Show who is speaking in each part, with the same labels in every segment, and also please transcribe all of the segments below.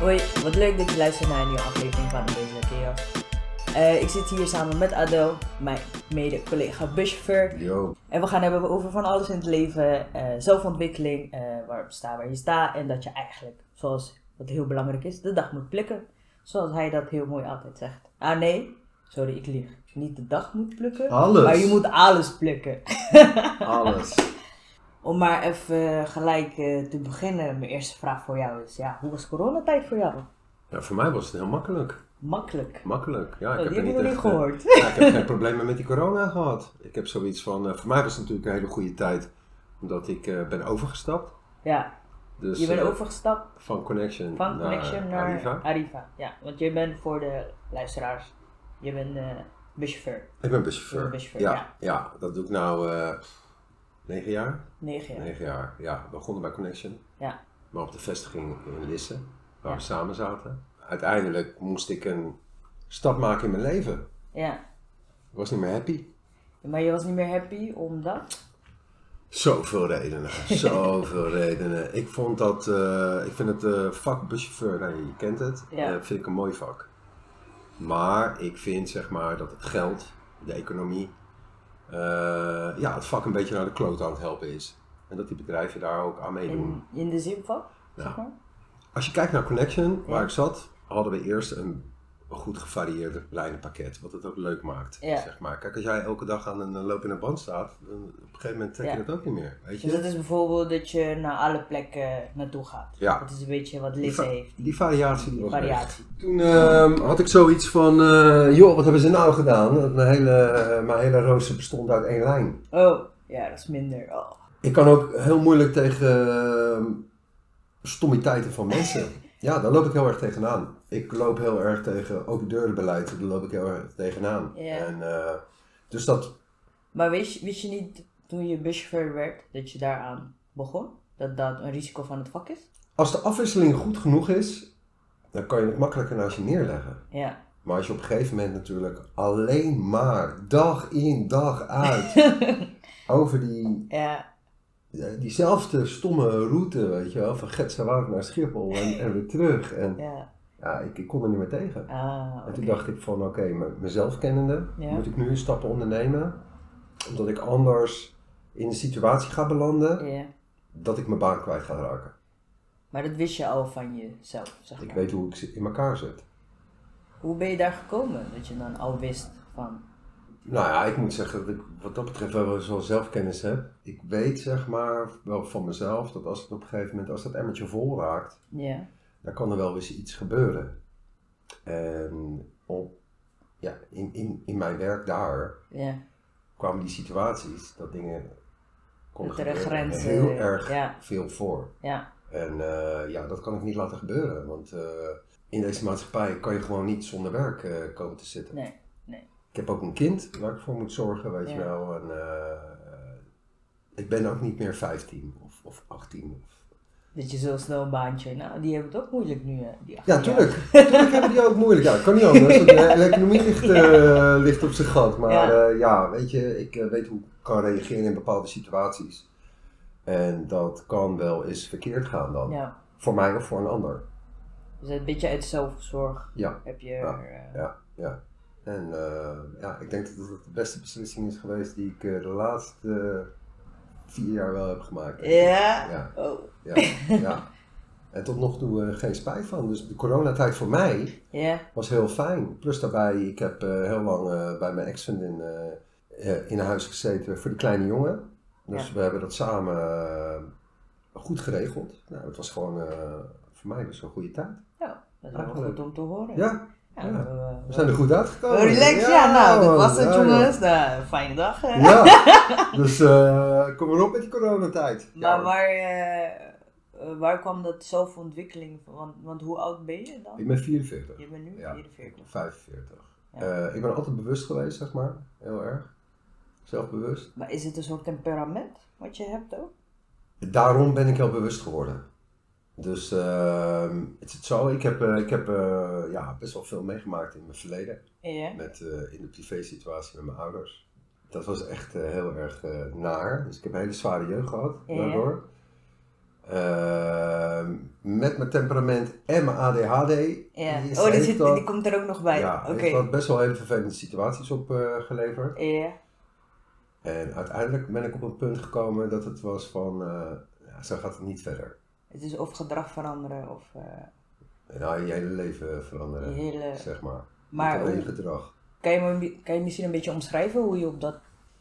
Speaker 1: Hoi, wat leuk dat je luistert naar een nieuwe aflevering van Deze Chaos. Eh, ik zit hier samen met Adel, mijn mede-collega buschauffeur.
Speaker 2: Yo.
Speaker 1: En we gaan hebben over van alles in het leven, eh, zelfontwikkeling, eh waarop sta waar je staat. En dat je eigenlijk, zoals wat heel belangrijk is, de dag moet plukken. Zoals hij dat heel mooi altijd zegt. Ah nee, sorry ik lieg. Niet de dag moet plukken,
Speaker 2: Alles.
Speaker 1: maar je moet alles plukken.
Speaker 2: Alles.
Speaker 1: Om maar even eh, gelijk eh, te beginnen, mijn eerste vraag voor jou is, ja, hoe was coronatijd voor jou?
Speaker 2: Ja, voor mij was het heel makkelijk.
Speaker 1: Makkelijk.
Speaker 2: Makkelijk. Ja, ik
Speaker 1: Oh,
Speaker 2: heb
Speaker 1: die
Speaker 2: er
Speaker 1: heb
Speaker 2: niet
Speaker 1: ik nog niet
Speaker 2: echt, eh,
Speaker 1: gehoord.
Speaker 2: ja, ik heb geen problemen met die corona gehad. Ik heb zoiets van, eh, voor mij was het natuurlijk een hele goede tijd. Omdat ik eh, ben overgestapt.
Speaker 1: Ja,
Speaker 2: Dus,
Speaker 1: je bent
Speaker 2: eh,
Speaker 1: overgestapt
Speaker 2: Van Connection
Speaker 1: van Connection naar Arriva.
Speaker 2: Arriva.
Speaker 1: Ja, want je bent voor de luisteraars, je bent eh buschauffeur.
Speaker 2: Ik ben buschauffeur.
Speaker 1: Je bent buschauffeur,
Speaker 2: ja,
Speaker 1: ja.
Speaker 2: ja. dat doe ik nou eh, negen jaar.
Speaker 1: Negen jaar.
Speaker 2: Negen jaar, ja. We begonnen bij Connection.
Speaker 1: Ja.
Speaker 2: Maar op de vestiging in Lisse, waar
Speaker 1: Ja.
Speaker 2: we samen zaten. Uiteindelijk moest ik een stap maken in mijn leven.
Speaker 1: ja.
Speaker 2: Ik was niet meer happy.
Speaker 1: Maar je was niet meer happy omdat?
Speaker 2: Zoveel redenen, zoveel redenen. Ik vond dat, eh, ik vind het eh, vak buschauffeur, nou, je kent het,
Speaker 1: Ja.
Speaker 2: eh, vind ik een mooi vak. Maar ik vind zeg maar dat het geld, de economie, eh, ja, het vak een beetje naar de kloot aan het helpen is. En dat die bedrijven daar ook aan meedoen.
Speaker 1: In, in de zin van?
Speaker 2: Nou,
Speaker 1: zeg maar?
Speaker 2: Als je kijkt naar Connection, waar
Speaker 1: Ja.
Speaker 2: ik zat, hadden we eerst een goed gevarieerd lijnenpakket, wat het ook leuk maakt.
Speaker 1: Ja.
Speaker 2: Zeg maar. Kijk, als jij elke dag aan een eh, lopende band staat, dan op een gegeven moment trek je
Speaker 1: Ja.
Speaker 2: dat ook niet meer. Weet je?
Speaker 1: Dus dat is bijvoorbeeld dat je naar alle plekken eh, naartoe gaat.
Speaker 2: Ja.
Speaker 1: Dat is een beetje wat
Speaker 2: Die
Speaker 1: Liz
Speaker 2: va-
Speaker 1: heeft.
Speaker 2: Die variatie die was weg.
Speaker 1: Variatie.
Speaker 2: Toen ehm, had ik zoiets van, eh, joh, wat hebben ze nou gedaan? Mijn hele, eh, mijn hele rooster bestond uit één lijn.
Speaker 1: Oh, ja, dat is minder. Oh.
Speaker 2: Ik kan ook heel moeilijk tegen ehm, stommiteiten van mensen. Ja, daar loop ik heel erg tegenaan. Ik loop heel erg tegen open deurenbeleid, daar loop ik heel erg tegenaan.
Speaker 1: Ja.
Speaker 2: En, eh, dus dat,
Speaker 1: Maar wist, je- wist je niet toen je buschauffeur werd, dat je daaraan begon? Dat dat een risico van het vak is?
Speaker 2: als de afwisseling goed genoeg is, dan kan je het makkelijker naast je neerleggen.
Speaker 1: Ja.
Speaker 2: Maar als je op een gegeven moment natuurlijk alleen maar dag in dag uit over die,
Speaker 1: Ja,
Speaker 2: eh, diezelfde stomme route, weet je wel, van Getsenwoud naar Schiphol en, en weer terug. En
Speaker 1: ja.
Speaker 2: ja, ik, ik kon er niet meer tegen.
Speaker 1: Ah,
Speaker 2: En
Speaker 1: oké.
Speaker 2: toen dacht ik van oké, me- mezelf kennende,
Speaker 1: Ja.
Speaker 2: moet ik nu een stappen ondernemen, omdat ik anders in een situatie ga belanden
Speaker 1: Ja.
Speaker 2: dat ik mijn baan kwijt ga raken.
Speaker 1: Maar dat wist je al van jezelf, zeg
Speaker 2: Ik
Speaker 1: maar.
Speaker 2: weet hoe ik ze in elkaar zit.
Speaker 1: Hoe ben je daar gekomen? Dat je dan al wist van...
Speaker 2: Nou ja, ik moet zeggen dat ik wat dat betreft wel zo'n zelfkennis heb. Ik weet zeg maar wel van mezelf dat als het op een gegeven moment, als dat emmertje vol raakt,
Speaker 1: Ja.
Speaker 2: dan kan er wel eens iets gebeuren. En op, ja, in, in, in mijn werk daar
Speaker 1: Ja.
Speaker 2: kwamen die situaties dat dingen konden
Speaker 1: Dat er een
Speaker 2: gebeuren
Speaker 1: grens,
Speaker 2: heel
Speaker 1: eh,
Speaker 2: erg
Speaker 1: ja.
Speaker 2: veel voor.
Speaker 1: Ja.
Speaker 2: En eh, ja, dat kan ik niet laten gebeuren, want eh, in deze maatschappij kan je gewoon niet zonder werk eh, komen te zitten.
Speaker 1: Nee.
Speaker 2: Ik heb ook een kind waar ik voor moet zorgen, weet
Speaker 1: Ja.
Speaker 2: je wel. En, eh, ik ben ook niet meer 15 of, of 18. Of...
Speaker 1: Dat je zo snel een baantje... Nou, die hebben het ook moeilijk nu, hè, die acht
Speaker 2: Ja,
Speaker 1: jaar.
Speaker 2: tuurlijk. tuurlijk hebben die ook moeilijk. Ja, dat kan niet anders. want De economie ligt, eh, ligt op zijn gat. Maar
Speaker 1: Ja.
Speaker 2: ja. ja, weet je, ik eh, weet hoe ik kan reageren in bepaalde situaties. En dat kan wel eens verkeerd gaan dan.
Speaker 1: Ja.
Speaker 2: Voor mij of voor een ander.
Speaker 1: Dus een beetje uit zelfzorg
Speaker 2: Ja.
Speaker 1: heb je...
Speaker 2: Ja.
Speaker 1: er, eh,
Speaker 2: Ja, ja. En eh, ja, ik denk dat het de beste beslissing is geweest die ik eh, de laatste eh, vier jaar wel heb gemaakt.
Speaker 1: Ja?
Speaker 2: Ja.
Speaker 1: Oh.
Speaker 2: Ja, ja. En tot nog toe eh, geen spijt van. Dus de coronatijd voor mij
Speaker 1: Ja.
Speaker 2: was heel fijn. Plus daarbij, ik heb eh, heel lang eh, bij mijn ex-vriendin eh, eh, in huis gezeten voor de kleine jongen. Dus
Speaker 1: Ja.
Speaker 2: we hebben dat samen eh, goed geregeld. Nou, het was gewoon eh, voor mij dus een goede tijd.
Speaker 1: Nou, dat is wel
Speaker 2: Eigenlijk.
Speaker 1: goed om te horen.
Speaker 2: Ja,
Speaker 1: Nou,
Speaker 2: ja.
Speaker 1: we-
Speaker 2: we zijn er goed uitgekomen.
Speaker 1: Oh, relax, ja, nou, dat
Speaker 2: man.
Speaker 1: was het
Speaker 2: Ja, joh.
Speaker 1: jongens. Nou, fijne dag. hè.
Speaker 2: Ja, dus eh, kom erop met die coronatijd.
Speaker 1: Maar
Speaker 2: Ja.
Speaker 1: waar, eh, eh, waar kwam dat zelfontwikkeling van? Want, want hoe oud ben je dan?
Speaker 2: Ik ben 44.
Speaker 1: Je bent nu
Speaker 2: Ja.
Speaker 1: 44.
Speaker 2: 45.
Speaker 1: Ja.
Speaker 2: Eh, ik ben altijd bewust geweest, zeg maar. Heel erg. Zelfbewust.
Speaker 1: Maar is het dus een soort temperament wat je hebt ook?
Speaker 2: Daarom ben ik heel bewust geworden. Dus ehm, het zit zo, ik heb, eh, ik heb eh, ja, best wel veel meegemaakt in mijn verleden.
Speaker 1: Ja.
Speaker 2: Met, eh, in de privésituatie met mijn ouders. Dat was echt eh, heel erg eh, naar. Dus ik heb een hele zware jeugd gehad
Speaker 1: Ja.
Speaker 2: daardoor. eh, met mijn temperament en mijn ADHD.
Speaker 1: Ja.
Speaker 2: is-
Speaker 1: Oh, die,
Speaker 2: heeft
Speaker 1: zit,
Speaker 2: dat-
Speaker 1: die komt er ook nog bij.
Speaker 2: Ja,
Speaker 1: Oké.
Speaker 2: heeft dat best wel hele vervelende situaties opgeleverd.
Speaker 1: Ja.
Speaker 2: En uiteindelijk ben ik op een punt gekomen dat het was van, eh, ja, zo gaat het niet verder.
Speaker 1: Het is of gedrag veranderen of eh,
Speaker 2: Nou, je hele leven
Speaker 1: je
Speaker 2: veranderen,
Speaker 1: hele...
Speaker 2: zeg maar.
Speaker 1: Maar
Speaker 2: niet alleen
Speaker 1: hoe-
Speaker 2: gedrag.
Speaker 1: kan, je, me- kan je misschien een beetje omschrijven hoe je op dat...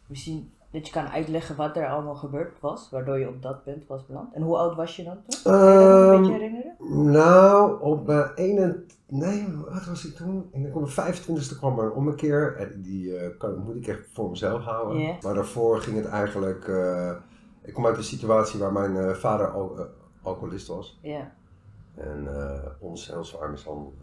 Speaker 1: Misschien dat je kan uitleggen wat er allemaal gebeurd was, waardoor je op dat punt was beland. En hoe oud was je dan toen? Kan je dat nog een
Speaker 2: Ehm,
Speaker 1: beetje herinneren?
Speaker 2: nou, op mijn 21... Nee, wat was ik toen? Ik denk op mijn 25ste kwam er een ommekeer. En die eh, kan, moet ik echt voor mezelf houden.
Speaker 1: Ja.
Speaker 2: Maar daarvoor ging het eigenlijk... eh, ik kom uit een situatie waar mijn eh, vader al- eh, alcoholist was.
Speaker 1: Ja.
Speaker 2: En eh ons heel zwaar mishandelde.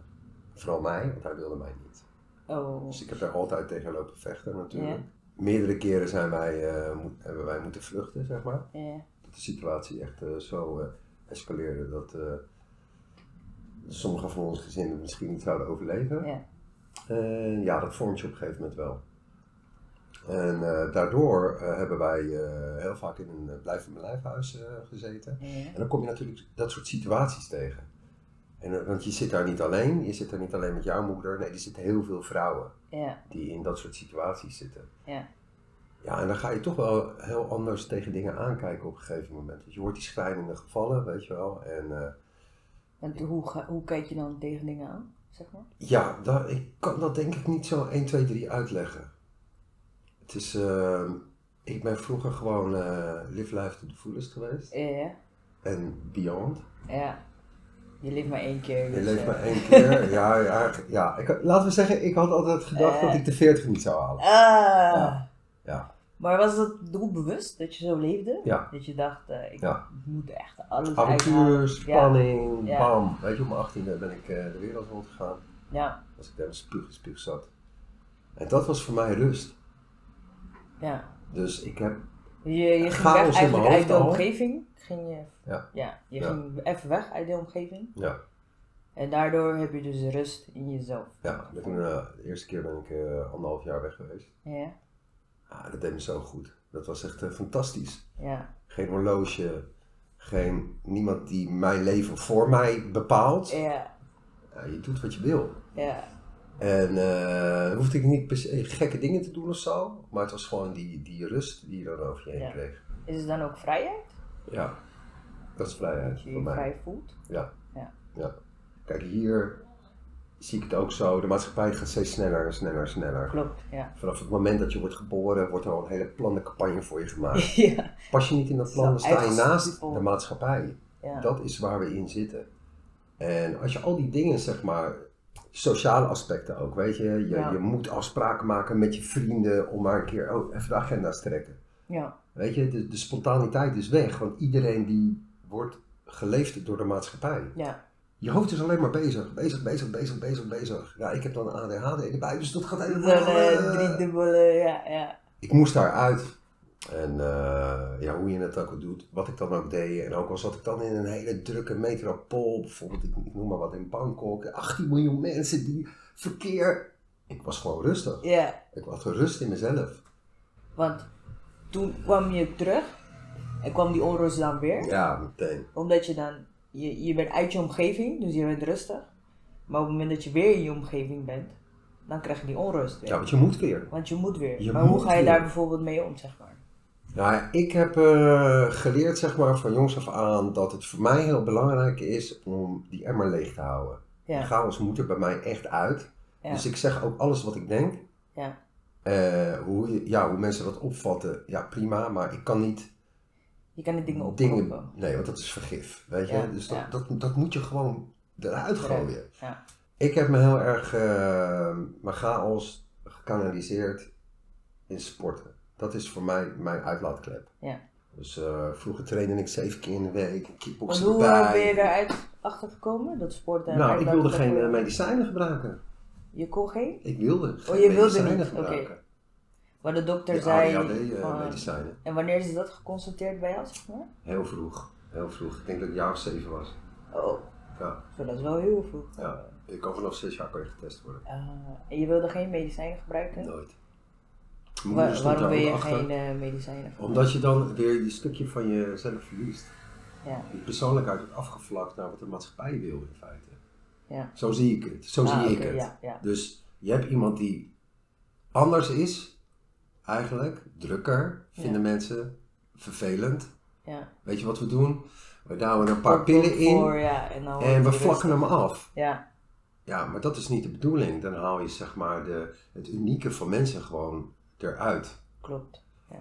Speaker 2: Vooral mij, want hij wilde mij niet.
Speaker 1: Oh.
Speaker 2: Dus ik heb daar altijd tegen lopen vechten natuurlijk. Meerdere keren zijn wij, eh, mo- hebben wij moeten vluchten, zeg maar.
Speaker 1: Ja.
Speaker 2: Dat de situatie echt eh, zo eh, escaleerde dat eh sommigen van ons gezinnen misschien niet zouden overleven.
Speaker 1: Ja.
Speaker 2: En ja, dat vormt je op een gegeven moment wel. En eh, daardoor eh, hebben wij eh, heel vaak in een eh, blijf van mijn lijfhuis eh, gezeten.
Speaker 1: Ja.
Speaker 2: En dan kom je natuurlijk dat soort situaties tegen. En, eh, want je zit daar niet alleen, je zit daar niet alleen met jouw moeder. Nee, er zitten heel veel vrouwen
Speaker 1: Ja.
Speaker 2: die in dat soort situaties zitten.
Speaker 1: Ja.
Speaker 2: Ja, en dan ga je toch wel heel anders tegen dingen aankijken op een gegeven moment. Want je hoort die schrijnende gevallen, weet je wel. En eh,
Speaker 1: En hoe, ga- hoe kijk je dan tegen dingen aan, zeg maar?
Speaker 2: ja, dat, ik kan dat denk ik niet zo 1, 2, 3 uitleggen. Het is, eh, ik ben vroeger gewoon eh, live life to the fullest geweest.
Speaker 1: Ja.
Speaker 2: En beyond.
Speaker 1: Ja. Je leeft maar één keer.
Speaker 2: Je
Speaker 1: dus,
Speaker 2: leeft
Speaker 1: eh,
Speaker 2: maar één keer. Ja, ja, ja. Ik, laten we zeggen, ik had altijd gedacht dat ik de 40 niet zou halen.
Speaker 1: Ah.
Speaker 2: Ja. Ja.
Speaker 1: Maar was dat doelbewust dat je zo leefde?
Speaker 2: Ja.
Speaker 1: Dat je dacht, eh, ik
Speaker 2: Ja.
Speaker 1: moet echt alles uithalen.
Speaker 2: Avontuur, spanning,
Speaker 1: Ja.
Speaker 2: bam. Weet je, op mijn 18e ben ik eh, de wereld rondgegaan.
Speaker 1: Ja,
Speaker 2: Als ik daar met spuug in spuug zat. En dat was voor mij rust.
Speaker 1: ja.
Speaker 2: Dus ik heb,
Speaker 1: Je, je ging
Speaker 2: Chaos in
Speaker 1: weg eigenlijk
Speaker 2: mijn
Speaker 1: uit de
Speaker 2: hoofd al.
Speaker 1: omgeving. Ging je,
Speaker 2: Ja.
Speaker 1: je
Speaker 2: Ja.
Speaker 1: ging even weg uit de omgeving.
Speaker 2: ja,
Speaker 1: En daardoor heb je dus rust in jezelf.
Speaker 2: ja ik ben, eh, de eerste keer ben ik eh, anderhalf jaar weg geweest.
Speaker 1: Ja,
Speaker 2: Ah, dat deed me zo goed. Dat was echt eh, fantastisch.
Speaker 1: ja,
Speaker 2: Geen horloge, geen, niemand die mijn leven voor mij bepaalt.
Speaker 1: ja,
Speaker 2: Ja, je doet wat je wil.
Speaker 1: ja,
Speaker 2: En eh, dan hoefde ik niet per se gekke dingen te doen of zo. Maar het was gewoon die, die rust die je dan over je heen
Speaker 1: Ja.
Speaker 2: kreeg.
Speaker 1: Is het dan ook vrijheid?
Speaker 2: Ja, dat is vrijheid
Speaker 1: Dat je
Speaker 2: voor
Speaker 1: je
Speaker 2: mij.
Speaker 1: vrij voelt?
Speaker 2: Ja.
Speaker 1: Ja.
Speaker 2: ja. Kijk, hier zie ik het ook zo. De maatschappij gaat steeds sneller en sneller en sneller.
Speaker 1: Klopt, ja.
Speaker 2: Vanaf het moment dat je wordt geboren, wordt er al een hele plannencampagne voor je gemaakt.
Speaker 1: ja,
Speaker 2: Pas je niet in dat plan, dan
Speaker 1: Zo
Speaker 2: sta je
Speaker 1: eigen
Speaker 2: naast
Speaker 1: people.
Speaker 2: de maatschappij.
Speaker 1: ja.
Speaker 2: Dat is waar we in zitten. En als je al die dingen, zeg maar, sociale aspecten ook, weet je, je,
Speaker 1: Ja.
Speaker 2: je moet afspraken maken met je vrienden om maar een keer oh, even de agenda's te trekken.
Speaker 1: ja.
Speaker 2: Weet je, de, de spontaniteit is weg, want iedereen die wordt geleefd door de maatschappij.
Speaker 1: ja.
Speaker 2: Je hoofd is alleen maar bezig, bezig, bezig, bezig, bezig, bezig. Ja, ik heb dan ADHD erbij, dus dat gaat
Speaker 1: Dan
Speaker 2: helemaal...
Speaker 1: eh
Speaker 2: eh,
Speaker 1: drie dubbele, ja, ja.
Speaker 2: ik moest daaruit. En eh, ja, hoe je het ook doet, wat ik dan ook deed. En ook al zat ik dan in een hele drukke metropool, bijvoorbeeld, ik, ik noem maar wat in Bangkok, 18 miljoen mensen die verkeer. Ik was gewoon rustig.
Speaker 1: Ja,
Speaker 2: Ik had gerust in mezelf.
Speaker 1: Want toen kwam je terug en kwam die onrust dan weer.
Speaker 2: Ja, meteen.
Speaker 1: Omdat je dan, je, je bent uit je omgeving, dus je bent rustig. Maar op het moment dat je weer in je omgeving bent, dan krijg je die onrust weer.
Speaker 2: Ja, want je moet weer.
Speaker 1: Want je moet weer.
Speaker 2: Je
Speaker 1: maar hoe
Speaker 2: moet
Speaker 1: ga je
Speaker 2: weer.
Speaker 1: daar bijvoorbeeld mee om, zeg maar?
Speaker 2: Nou, ik heb eh, geleerd, zeg maar, van jongs af aan dat het voor mij heel belangrijk is om die emmer leeg te houden.
Speaker 1: Ja,
Speaker 2: Chaos moet er bij mij echt uit.
Speaker 1: Ja.
Speaker 2: Dus ik zeg ook alles wat ik denk.
Speaker 1: ja,
Speaker 2: Eh, hoe, je- ja, hoe mensen dat opvatten, ja prima, maar ik kan niet
Speaker 1: je kan die dingen opkopen.
Speaker 2: dingen... Nee, want dat is vergif, weet je.
Speaker 1: Ja,
Speaker 2: dus dat,
Speaker 1: ja.
Speaker 2: dat, dat moet je gewoon eruit gooien.
Speaker 1: Ja,
Speaker 2: Ik heb me heel erg, eh, mijn chaos gekanaliseerd in sporten. Dat is voor mij mijn uitlaatklep.
Speaker 1: ja.
Speaker 2: Dus eh, vroeger trainde ik zeven keer in de week,
Speaker 1: Want
Speaker 2: kickboksen
Speaker 1: hoe eh,
Speaker 2: erbij.
Speaker 1: ben je daaruit achtergekomen? Dat sport en
Speaker 2: Nou, ik wilde
Speaker 1: dat-
Speaker 2: geen eh, medicijnen gebruiken.
Speaker 1: Je kon geen?
Speaker 2: Ik wilde geen
Speaker 1: Oh, je wilde
Speaker 2: medicijnen
Speaker 1: niet, oké.
Speaker 2: gebruiken.
Speaker 1: Maar de dokter
Speaker 2: De
Speaker 1: zei...
Speaker 2: eh,
Speaker 1: van-
Speaker 2: ADHD-medicijnen.
Speaker 1: en wanneer is dat geconstateerd bij jou, zeg maar?
Speaker 2: heel vroeg, heel vroeg. Ik denk dat ik een jaar of zeven was.
Speaker 1: Oh,
Speaker 2: Ja.
Speaker 1: zo, dat is wel heel vroeg.
Speaker 2: Ja, ik kan vanaf zes jaar kan je getest worden.
Speaker 1: Ah, en je wilde geen medicijnen gebruiken?
Speaker 2: Nooit.
Speaker 1: Wa-
Speaker 2: Mijn moeder stond
Speaker 1: waarom
Speaker 2: daar
Speaker 1: wil je
Speaker 2: ook achter.
Speaker 1: geen eh, medicijnen gebruiken?
Speaker 2: Omdat je dan weer die stukje van jezelf verliest.
Speaker 1: Ja.
Speaker 2: Die persoonlijkheid wordt afgevlakt naar wat de maatschappij wil in feite.
Speaker 1: Ja.
Speaker 2: Zo zie ik het. Zo
Speaker 1: Ah,
Speaker 2: zie ik
Speaker 1: oké,
Speaker 2: het.
Speaker 1: ja, ja.
Speaker 2: Dus je hebt iemand die anders is, eigenlijk, drukker, vinden mensen vervelend.
Speaker 1: ja.
Speaker 2: Weet je wat we doen? We douwen er een paar pillen
Speaker 1: Voor,
Speaker 2: in
Speaker 1: ja, en, dan
Speaker 2: en we
Speaker 1: wordt het
Speaker 2: vlakken hem af.
Speaker 1: rustig. Ja,
Speaker 2: Ja, maar dat is niet de bedoeling. Dan haal je zeg maar de, het unieke van mensen gewoon eruit.
Speaker 1: klopt. Ja.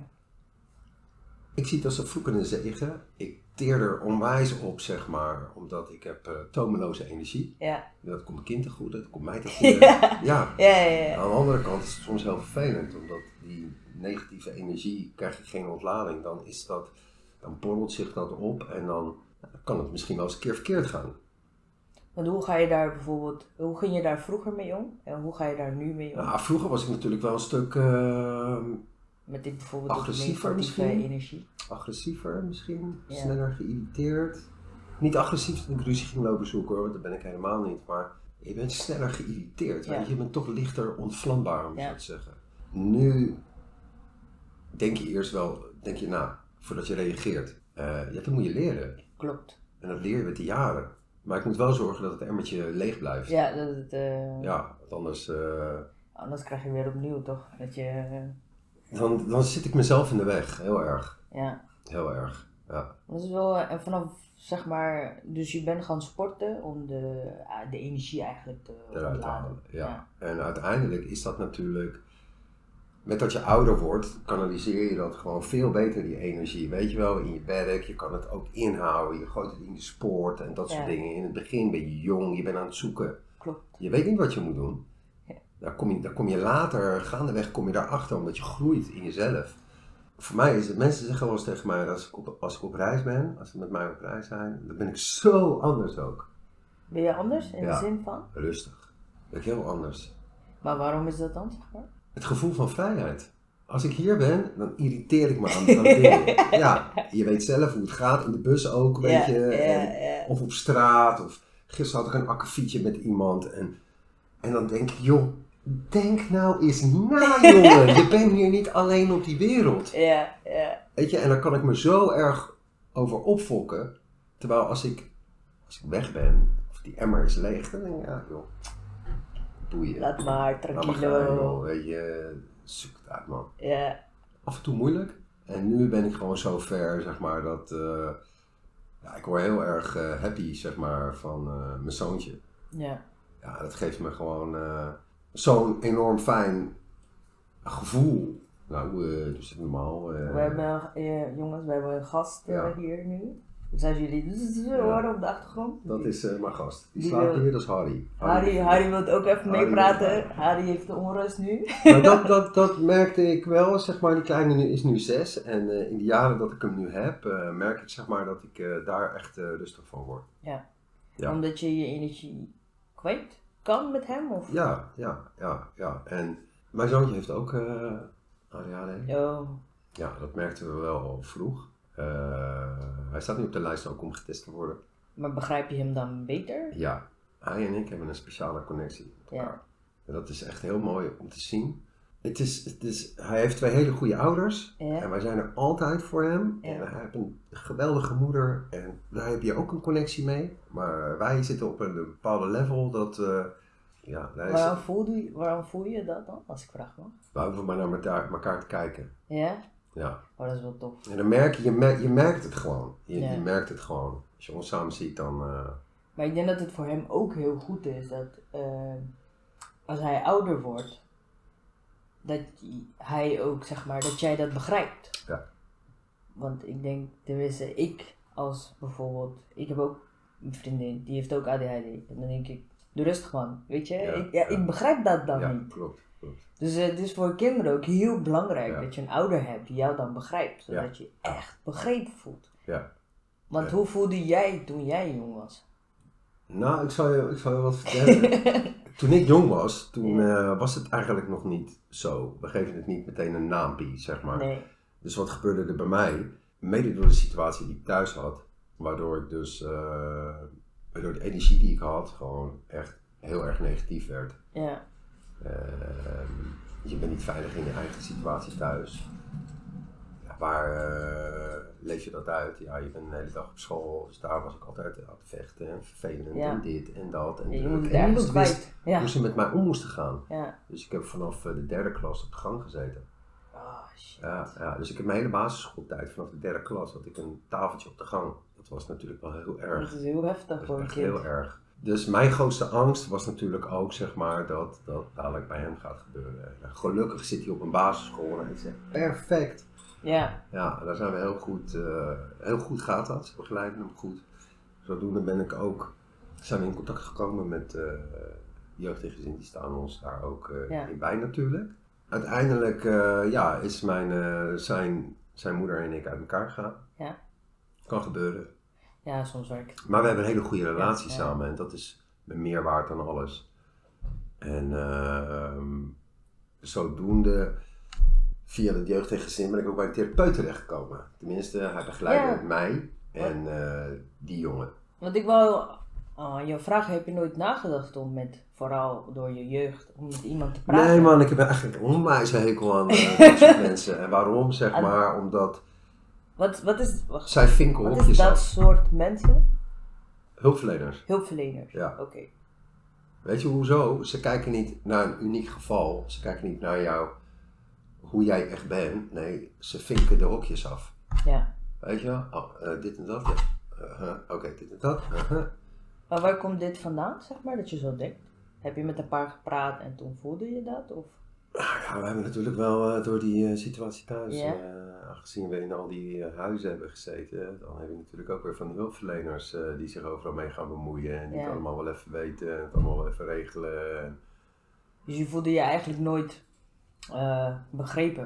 Speaker 2: Ik zie het als een vloek en een zegen. Ik teer er onwijs op, zeg maar, omdat ik heb eh, tomeloze energie.
Speaker 1: Ja.
Speaker 2: Dat komt mijn kind te goede, dat komt mij te goede. ja.
Speaker 1: Ja, ja, ja.
Speaker 2: Aan de andere kant is het soms heel vervelend, omdat die negatieve energie krijg je geen ontlading. Dan is dat, dan borrelt zich dat op en dan kan het misschien wel eens een keer verkeerd gaan.
Speaker 1: Want hoe ga je daar bijvoorbeeld, hoe ging je daar vroeger mee om? En hoe ga je daar nu mee om?
Speaker 2: Nou, vroeger was ik natuurlijk wel een stuk eh,
Speaker 1: Met dit bijvoorbeeld die
Speaker 2: Agressiever
Speaker 1: negatieve
Speaker 2: misschien?
Speaker 1: energie.
Speaker 2: agressiever misschien,
Speaker 1: Ja.
Speaker 2: sneller geïrriteerd. Niet agressief dat ik ruzie ging lopen zoeken hoor, dat ben ik helemaal niet, maar je bent sneller geïrriteerd.
Speaker 1: Ja.
Speaker 2: weet Je Je bent toch lichter ontvlambaar, om
Speaker 1: Ja.
Speaker 2: zo te zeggen. Nu denk je eerst wel, denk je na, voordat je reageert. Eh, ja, dat moet je leren.
Speaker 1: Klopt.
Speaker 2: En dat leer je met de jaren. Maar ik moet wel zorgen dat het emmertje leeg blijft. Ja,
Speaker 1: Ja, dat het, eh,
Speaker 2: want anders eh,
Speaker 1: anders krijg je weer opnieuw toch? Dat je, eh,
Speaker 2: dan, dan zit ik mezelf in de weg. Heel erg.
Speaker 1: ja.
Speaker 2: Heel erg. Ja.
Speaker 1: Dat is wel, eh, en vanaf zeg maar, dus je bent gaan sporten om de, ah, de energie eigenlijk te
Speaker 2: eruit
Speaker 1: ontladen.
Speaker 2: halen. Ja. En uiteindelijk is dat natuurlijk, met dat je ouder wordt, kanaliseer je dat gewoon veel beter, die energie. Weet je wel, in je werk, je kan het ook inhouden, je gooit het in je sport en dat soort
Speaker 1: Ja.
Speaker 2: dingen. In het begin ben je jong, je bent aan het zoeken.
Speaker 1: Klopt.
Speaker 2: Je weet niet wat je moet doen.
Speaker 1: Ja.
Speaker 2: Daar kom je, daar kom je later, gaandeweg kom je daarachter, omdat je groeit in jezelf. Voor mij is het, mensen zeggen wel eens tegen mij, als ik, op, als ik op reis ben, als ze met mij op reis zijn, dan ben ik zo anders ook.
Speaker 1: Ben je anders in de
Speaker 2: Ja.
Speaker 1: zin van?
Speaker 2: Rustig. Ben ik heel anders.
Speaker 1: Maar waarom is dat dan, zeg maar?
Speaker 2: Het gevoel van vrijheid. Als ik hier ben, dan irriteer ik me aan, aan dingen. Ja, je weet zelf hoe het gaat, in de bus ook, weet
Speaker 1: Ja,
Speaker 2: je.
Speaker 1: ja,
Speaker 2: En-
Speaker 1: ja.
Speaker 2: Of op straat, of gisteren had ik een akkefietje met iemand. En, en dan denk ik, joh, denk nou eens na, jongen. Je bent hier niet alleen op die wereld.
Speaker 1: Ja, ja.
Speaker 2: Weet je, en dan kan ik me zo erg over opfokken. Terwijl als ik, als ik weg ben, of die emmer is leeg, dan denk ik, ja, joh, boeien.
Speaker 1: Laat maar,
Speaker 2: Laat maar gaan, joh,
Speaker 1: tranquilo.
Speaker 2: weet je, zoek het uit, man.
Speaker 1: Ja,
Speaker 2: Af en toe moeilijk. En nu ben ik gewoon zo ver, zeg maar, dat... eh, ja, ik word heel erg eh, happy, zeg maar, van eh, mijn zoontje.
Speaker 1: ja.
Speaker 2: Ja, dat geeft me gewoon eh, zo'n enorm fijn gevoel. Nou, eh doe het normaal. eh.
Speaker 1: We hebben, eh, jongens, we hebben een gast eh,
Speaker 2: Ja.
Speaker 1: hier nu. Dus als jullie zzz horen op de achtergrond.
Speaker 2: Dat is eh, mijn gast. Die
Speaker 1: Die
Speaker 2: slaapt
Speaker 1: wil-
Speaker 2: hier, dat is Harry.
Speaker 1: Harry, Harry wil ook even
Speaker 2: Harry wil
Speaker 1: meepraten.
Speaker 2: praten.
Speaker 1: Harry heeft de onrust nu.
Speaker 2: Maar dat, dat, dat merkte ik wel, zeg maar. Die kleine nu, is nu zes. En eh, in de jaren dat ik hem nu heb, eh, merk ik zeg maar dat ik eh, daar echt eh, rustig van word. Ja.
Speaker 1: Omdat je je energie kwijt kan met hem? Of?
Speaker 2: Ja, ja, ja, ja. En mijn zoontje heeft ook eh ADHD.
Speaker 1: Oh,
Speaker 2: Ja, dat merkten we wel al vroeg. Eh, hij staat nu op de lijst ook om getest te worden.
Speaker 1: maar begrijp je hem dan beter?
Speaker 2: Ja, hij en ik hebben een speciale connectie met elkaar.
Speaker 1: Ja.
Speaker 2: En dat is echt heel mooi om te zien. Het is, het is, hij heeft twee hele goede ouders. En
Speaker 1: Ja.
Speaker 2: wij zijn er altijd voor hem.
Speaker 1: Ja.
Speaker 2: En hij heeft een geweldige moeder. En daar heb je ook een connectie mee. Maar wij zitten op een bepaalde level dat... eh, ja, daar is,
Speaker 1: Waarom voel, je, waarom voel je dat dan, als ik vraag mag?
Speaker 2: we hoeven maar naar elkaar, elkaar te kijken.
Speaker 1: Ja?
Speaker 2: Ja.
Speaker 1: Oh, dat is wel tof.
Speaker 2: En dan merk je, je, merkt, je merkt het gewoon. Je,
Speaker 1: Ja.
Speaker 2: je merkt het gewoon. Als je ons samen ziet, dan... eh,
Speaker 1: Maar ik denk dat het voor hem ook heel goed is dat eh, als hij ouder wordt, dat hij ook zeg maar dat jij dat begrijpt.
Speaker 2: Ja.
Speaker 1: Want ik denk, tenminste, ik als bijvoorbeeld, ik heb ook een vriendin die heeft ook ADHD. En dan denk ik, doe rustig man, weet je?
Speaker 2: Ja,
Speaker 1: ik, ja,
Speaker 2: ja.
Speaker 1: ik begrijp dat dan
Speaker 2: ja,
Speaker 1: niet.
Speaker 2: klopt. klopt.
Speaker 1: Dus eh, het is voor kinderen ook heel belangrijk
Speaker 2: Ja.
Speaker 1: dat je een ouder hebt die jou dan begrijpt,
Speaker 2: Ja.
Speaker 1: zodat je echt begrepen voelt.
Speaker 2: Ja.
Speaker 1: Want
Speaker 2: Ja.
Speaker 1: hoe voelde jij toen jij jong was?
Speaker 2: Nou, ik zal je, ik zal je wat vertellen. toen ik jong was, toen eh, was het eigenlijk nog niet zo. We geven het niet meteen een naampie, zeg maar.
Speaker 1: Nee.
Speaker 2: Dus wat gebeurde er bij mij? Mede door de situatie die ik thuis had, waardoor ik dus, eh, waardoor de energie die ik had, gewoon echt heel erg negatief werd.
Speaker 1: Ja.
Speaker 2: Ehm, je bent niet veilig in je eigen situatie thuis. Ja, Waar eh, leef je dat uit? Ja, je bent de hele dag op school, dus daar was ik altijd aan het vechten en vervelend
Speaker 1: Ja.
Speaker 2: en dit en dat. En
Speaker 1: Ja, je
Speaker 2: druk.
Speaker 1: moet het
Speaker 2: En
Speaker 1: ergens
Speaker 2: niemand wist
Speaker 1: kwijt. Ja.
Speaker 2: hoe ze met mij om moesten gaan.
Speaker 1: ja.
Speaker 2: Dus ik heb vanaf eh, de derde klas op de gang gezeten.
Speaker 1: Oh, shit.
Speaker 2: Ja, ja, dus ik heb mijn hele basisschooltijd vanaf de derde klas had ik een tafeltje op de gang. Dat was natuurlijk wel heel erg.
Speaker 1: Dat is heel heftig
Speaker 2: Dat
Speaker 1: voor
Speaker 2: was
Speaker 1: een
Speaker 2: echt
Speaker 1: kind.
Speaker 2: heel erg. Dus mijn grootste angst was natuurlijk ook, zeg maar, dat dat dadelijk bij hem gaat gebeuren. En gelukkig zit hij op een basisschool en hij zegt, perfect.
Speaker 1: Ja,
Speaker 2: Ja, daar zijn we heel goed, eh, heel goed gaat dat. Ze begeleiden hem goed. Zodoende ben ik ook, zijn we in contact gekomen met eh jeugd en gezin. Die staan ons daar ook eh,
Speaker 1: Ja.
Speaker 2: in bij natuurlijk. Uiteindelijk eh, ja, is mijn, eh, zijn, zijn moeder en ik uit elkaar gegaan.
Speaker 1: Ja.
Speaker 2: Kan gebeuren.
Speaker 1: ja soms werkt het.
Speaker 2: Maar we hebben een hele goede relatie
Speaker 1: Ja, ja.
Speaker 2: samen en dat is meer waard dan alles. En ehm, zodoende, via het jeugd en gezin, ben ik ook bij een therapeut terechtgekomen. Tenminste, hij begeleidde
Speaker 1: Ja.
Speaker 2: mij en eh, die jongen.
Speaker 1: Want ik wou... Oh, je vraag heb je nooit nagedacht om met, vooral door je jeugd, om met iemand te praten.
Speaker 2: Nee man, ik heb eigenlijk een onwijs hekel aan eh, dat soort mensen. En waarom zeg
Speaker 1: Aan-
Speaker 2: maar? Omdat
Speaker 1: Wat, wat is, wacht,
Speaker 2: zij vinken
Speaker 1: wat is
Speaker 2: hokjes
Speaker 1: dat
Speaker 2: af.
Speaker 1: soort mensen?
Speaker 2: Hulpverleners.
Speaker 1: Hulpverleners.
Speaker 2: Ja.
Speaker 1: Oké.
Speaker 2: Weet je hoezo? Ze kijken niet naar een uniek geval. Ze kijken niet naar jou, hoe jij echt bent. Nee, ze vinken de hokjes af.
Speaker 1: Ja.
Speaker 2: Weet je wel? Oh, eh, dit en dat. Ja. Eh, eh, Oké, dit en dat. eh, eh.
Speaker 1: Maar waar komt dit vandaan, zeg maar, dat je zo denkt? Heb je met een paar gepraat en toen voelde je dat? Of?
Speaker 2: Nou ja, we hebben natuurlijk wel eh, door die eh, situatie thuis,
Speaker 1: Ja.
Speaker 2: eh, aangezien we in al die eh, huizen hebben gezeten, dan heb je natuurlijk ook weer van die hulpverleners eh, die zich overal mee gaan bemoeien en die
Speaker 1: Ja.
Speaker 2: het allemaal wel even weten en het allemaal wel even regelen. En-
Speaker 1: Dus je voelde je eigenlijk nooit eh, begrepen.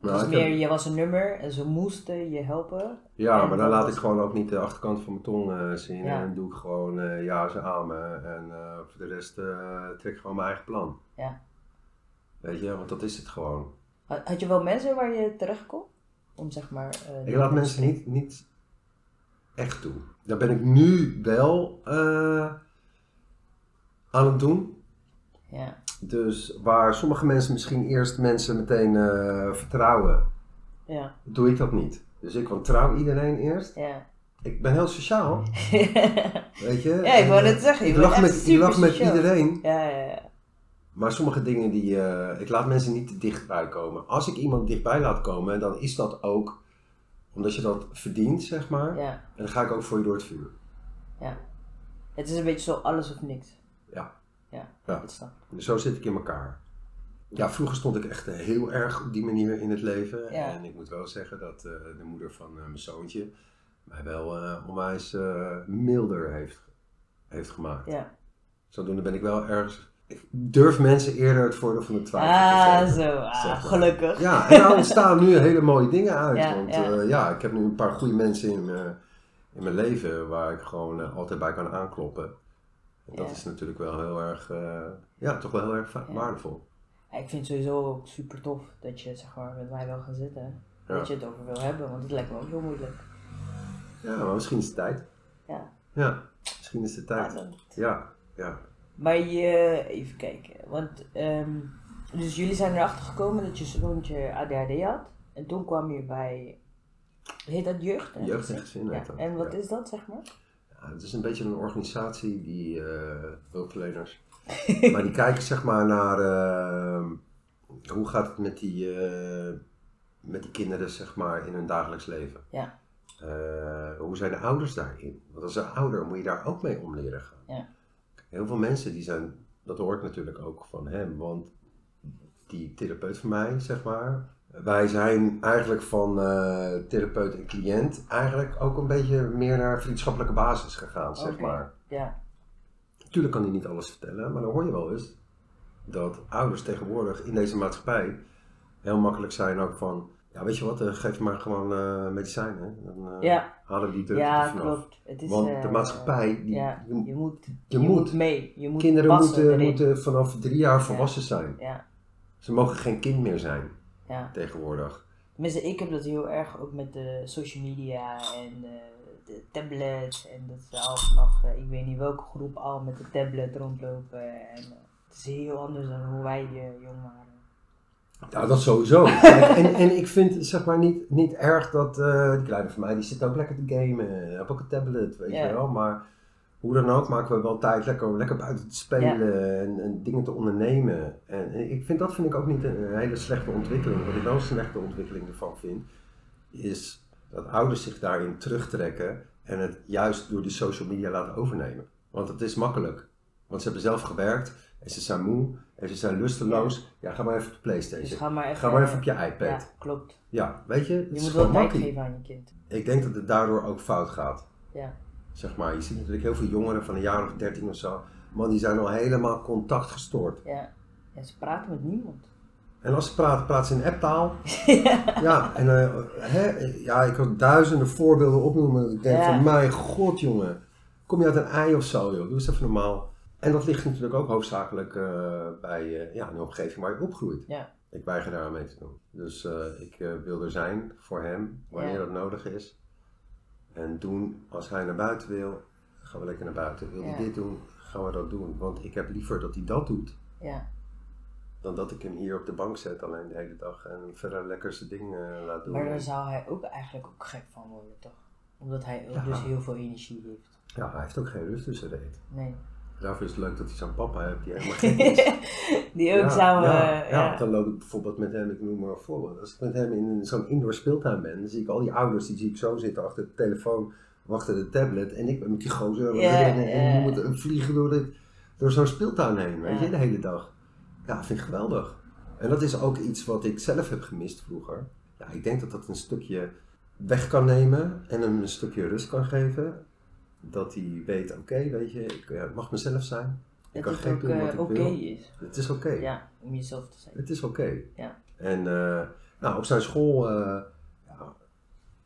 Speaker 1: Het
Speaker 2: Nou,
Speaker 1: was
Speaker 2: ik
Speaker 1: meer,
Speaker 2: heb-
Speaker 1: je was een nummer en ze moesten je helpen.
Speaker 2: Ja,
Speaker 1: En
Speaker 2: maar
Speaker 1: dat
Speaker 2: dan laat
Speaker 1: was-
Speaker 2: ik gewoon ook niet de achterkant van mijn tong eh, zien.
Speaker 1: Ja.
Speaker 2: En dan doe ik gewoon eh, ja, ze amen. En eh, voor de rest eh, trek ik gewoon mijn eigen plan.
Speaker 1: Ja.
Speaker 2: Weet je, want dat is het gewoon.
Speaker 1: Had had je wel mensen waar je terecht kon? Om zeg maar... eh,
Speaker 2: Ik laat mensen niet, niet echt toe. Daar ben ik nu wel eh, aan het doen.
Speaker 1: Ja,
Speaker 2: Dus waar sommige mensen misschien eerst mensen meteen eh, vertrouwen,
Speaker 1: ja,
Speaker 2: doe ik dat niet. Dus ik ontrouw iedereen eerst.
Speaker 1: ja.
Speaker 2: Ik ben heel sociaal, weet je.
Speaker 1: ja, ik wou
Speaker 2: En, eh,
Speaker 1: net zeggen, je
Speaker 2: Ik
Speaker 1: bent
Speaker 2: lach
Speaker 1: echt
Speaker 2: met, ik
Speaker 1: super
Speaker 2: lach met
Speaker 1: sociaal.
Speaker 2: iedereen,
Speaker 1: Ja, ja, ja.
Speaker 2: maar sommige dingen die... eh, ik laat mensen niet te dichtbij komen. Als ik iemand dichtbij laat komen, dan is dat ook omdat je dat verdient, zeg maar.
Speaker 1: ja.
Speaker 2: En dan ga ik ook voor je door het vuur.
Speaker 1: Het is een beetje zo alles of niks.
Speaker 2: Ja.
Speaker 1: Ja,
Speaker 2: Ja.
Speaker 1: dat snap ik.
Speaker 2: Dus zo zit ik in elkaar. Ja, vroeger stond ik echt heel erg op die manier in het leven.
Speaker 1: Ja.
Speaker 2: En ik moet wel zeggen dat eh, de moeder van eh, mijn zoontje mij wel eh, onwijs eh, milder heeft, heeft gemaakt.
Speaker 1: Ja.
Speaker 2: Zodoende ben ik wel ergens... Ik durf mensen eerder het voordeel van de twijfel te
Speaker 1: Ah,
Speaker 2: geven.
Speaker 1: zo. Ah,
Speaker 2: zeg maar.
Speaker 1: gelukkig.
Speaker 2: Ja, en daar ontstaan nu hele mooie dingen uit.
Speaker 1: Ja,
Speaker 2: want
Speaker 1: ja.
Speaker 2: ja. ja, ik heb nu een paar goede mensen in mijn, in mijn leven waar ik gewoon eh, altijd bij kan aankloppen. En dat
Speaker 1: Ja.
Speaker 2: is natuurlijk wel heel erg, eh, ja, toch wel heel erg va-
Speaker 1: Ja.
Speaker 2: waardevol.
Speaker 1: Ja, Ik vind het sowieso ook super tof dat je zeg maar, met mij wil gaan zitten. En
Speaker 2: Ja.
Speaker 1: Dat je het over wil hebben, want het lijkt me ook heel moeilijk.
Speaker 2: Ja, maar misschien is het tijd.
Speaker 1: Ja.
Speaker 2: Ja, misschien is het
Speaker 1: Maar,
Speaker 2: tijd.
Speaker 1: dan-
Speaker 2: Ja, ja.
Speaker 1: maar je, even kijken, want ehm, dus jullie zijn erachter gekomen dat je zoontje ADHD had. En toen kwam je bij, heet dat jeugd? hè?
Speaker 2: Jeugd en gezin heet
Speaker 1: Ja.
Speaker 2: dat,
Speaker 1: En wat
Speaker 2: ja.
Speaker 1: is dat zeg maar?
Speaker 2: Ja, het is een beetje een organisatie, die eh hulpverleners. maar die kijken zeg maar naar eh, hoe gaat het met die, eh, met die kinderen zeg maar, in hun dagelijks leven.
Speaker 1: Ja.
Speaker 2: Eh, hoe zijn de ouders daarin? Want als een ouder moet je daar ook mee om leren gaan.
Speaker 1: Ja.
Speaker 2: Heel veel mensen die zijn, dat hoort natuurlijk ook van hem, want die therapeut van mij, zeg maar. Wij zijn eigenlijk van eh, therapeut en cliënt eigenlijk ook een beetje meer naar vriendschappelijke basis gegaan, zeg
Speaker 1: Oké.
Speaker 2: maar.
Speaker 1: Ja,
Speaker 2: Natuurlijk kan hij niet alles vertellen, maar dan hoor je wel eens dat ouders tegenwoordig in deze maatschappij heel makkelijk zijn ook van, ja weet je wat, eh, geef maar gewoon eh, medicijnen, dan eh,
Speaker 1: ja,
Speaker 2: halen we die druk er
Speaker 1: ja
Speaker 2: vanaf.
Speaker 1: klopt. Het is,
Speaker 2: Want de
Speaker 1: eh,
Speaker 2: maatschappij, die,
Speaker 1: ja,
Speaker 2: die-
Speaker 1: je moet, je,
Speaker 2: je
Speaker 1: moet,
Speaker 2: moet.
Speaker 1: mee. Je moet
Speaker 2: kinderen
Speaker 1: passen
Speaker 2: moeten,
Speaker 1: erin.
Speaker 2: moeten vanaf drie jaar volwassen zijn.
Speaker 1: Ja,
Speaker 2: Ze mogen geen kind meer zijn
Speaker 1: ja.
Speaker 2: tegenwoordig.
Speaker 1: Tenminste, ik heb dat heel erg ook met de social media en eh, de tablet. En dat ze al vanaf, eh, ik weet niet welke groep al met de tablet rondlopen. En eh, het is heel anders dan hoe wij eh, jong waren.
Speaker 2: Ja, dat sowieso. Kijk, en, en ik vind het zeg maar niet, niet erg dat eh, die kleine van mij, die zit ook lekker te gamen. Ik heb ook een tablet, weet
Speaker 1: Ja.
Speaker 2: je wel. Maar hoe dan ook maken we wel tijd lekker om lekker buiten te spelen en, en dingen te ondernemen. En, en ik vind, dat vind ik ook niet een, een hele slechte ontwikkeling. Wat ik wel een slechte ontwikkeling ervan vind, is dat ouders zich daarin terugtrekken en het juist door de social media laten overnemen. Want het is makkelijk. Want ze hebben zelf gewerkt en ze zijn moe en ze zijn lusteloos. Ja, ga maar even op de Playstation.
Speaker 1: Dus ga maar even,
Speaker 2: Ga maar even op je iPad.
Speaker 1: Ja,
Speaker 2: Ja,
Speaker 1: klopt.
Speaker 2: weet je, het
Speaker 1: Je
Speaker 2: is
Speaker 1: moet wel
Speaker 2: gewoon
Speaker 1: tijd
Speaker 2: makkie.
Speaker 1: geven aan je kind.
Speaker 2: Ik denk dat het daardoor ook fout gaat.
Speaker 1: Ja.
Speaker 2: Zeg maar, je ziet natuurlijk heel veel jongeren van een jaar of dertien of zo. Man, die zijn al helemaal contact gestoord.
Speaker 1: Ja. ja, ze praten met niemand.
Speaker 2: En als ze praten, praten ze in apptaal. ja. en eh, hè, ja, ik kan duizenden voorbeelden opnoemen. Ik denk
Speaker 1: Ja.
Speaker 2: van, mijn god jongen. Kom je uit een ei of zo, joh. Doe eens even normaal. En dat ligt natuurlijk ook hoofdzakelijk eh, bij eh, ja, een omgeving waar je opgroeit.
Speaker 1: Ja.
Speaker 2: Ik weiger daar aan mee te doen. Dus eh, ik eh, wil er zijn voor hem, wanneer
Speaker 1: Ja.
Speaker 2: dat nodig is. En doen, als hij naar buiten wil, gaan we lekker naar buiten. Wil hij
Speaker 1: Ja.
Speaker 2: dit doen, gaan we dat doen. Want ik heb liever dat hij dat doet,
Speaker 1: Ja.
Speaker 2: dan dat ik hem hier op de bank zet alleen de hele dag. En verder lekker zijn ding eh, laat doen.
Speaker 1: Maar daar zou hij ook eigenlijk ook gek van worden, toch? Omdat hij ook
Speaker 2: Ja.
Speaker 1: dus heel veel energie heeft.
Speaker 2: Ja, hij heeft ook geen rust tussen reet.
Speaker 1: Nee.
Speaker 2: Daarvoor is het leuk dat hij zo'n papa heeft die helemaal gek is.
Speaker 1: Die ook zou...
Speaker 2: ja,
Speaker 1: eh,
Speaker 2: ja,
Speaker 1: ja.
Speaker 2: want dan loop ik bijvoorbeeld met hem, ik noem maar een voorbeeld. Als ik met hem in een- zo'n indoor speeltuin ben, dan zie ik al die ouders, die zie ik zo zitten achter de telefoon, of achter de tablet. En ik ben met die gozer aan het
Speaker 1: Ja,
Speaker 2: rennen en
Speaker 1: ja.
Speaker 2: je moet vliegen door, dit- door zo'n speeltuin heen, weet
Speaker 1: Ja.
Speaker 2: je, de hele dag. Ja, vind ik geweldig. En dat is ook iets wat ik zelf heb gemist vroeger. Ja, ik denk dat dat een stukje weg kan nemen en hem een stukje rust kan geven. Dat hij weet, oké, weet je, ik eh, mag mezelf zijn.
Speaker 1: dat
Speaker 2: Ik kan
Speaker 1: het
Speaker 2: gek
Speaker 1: ook
Speaker 2: doen
Speaker 1: eh,
Speaker 2: wat
Speaker 1: oké
Speaker 2: ik wil.
Speaker 1: is.
Speaker 2: Het is oké.
Speaker 1: Ja, om jezelf te zijn.
Speaker 2: Het is oké.
Speaker 1: Ja.
Speaker 2: En eh, nou, op zijn school eh, ja,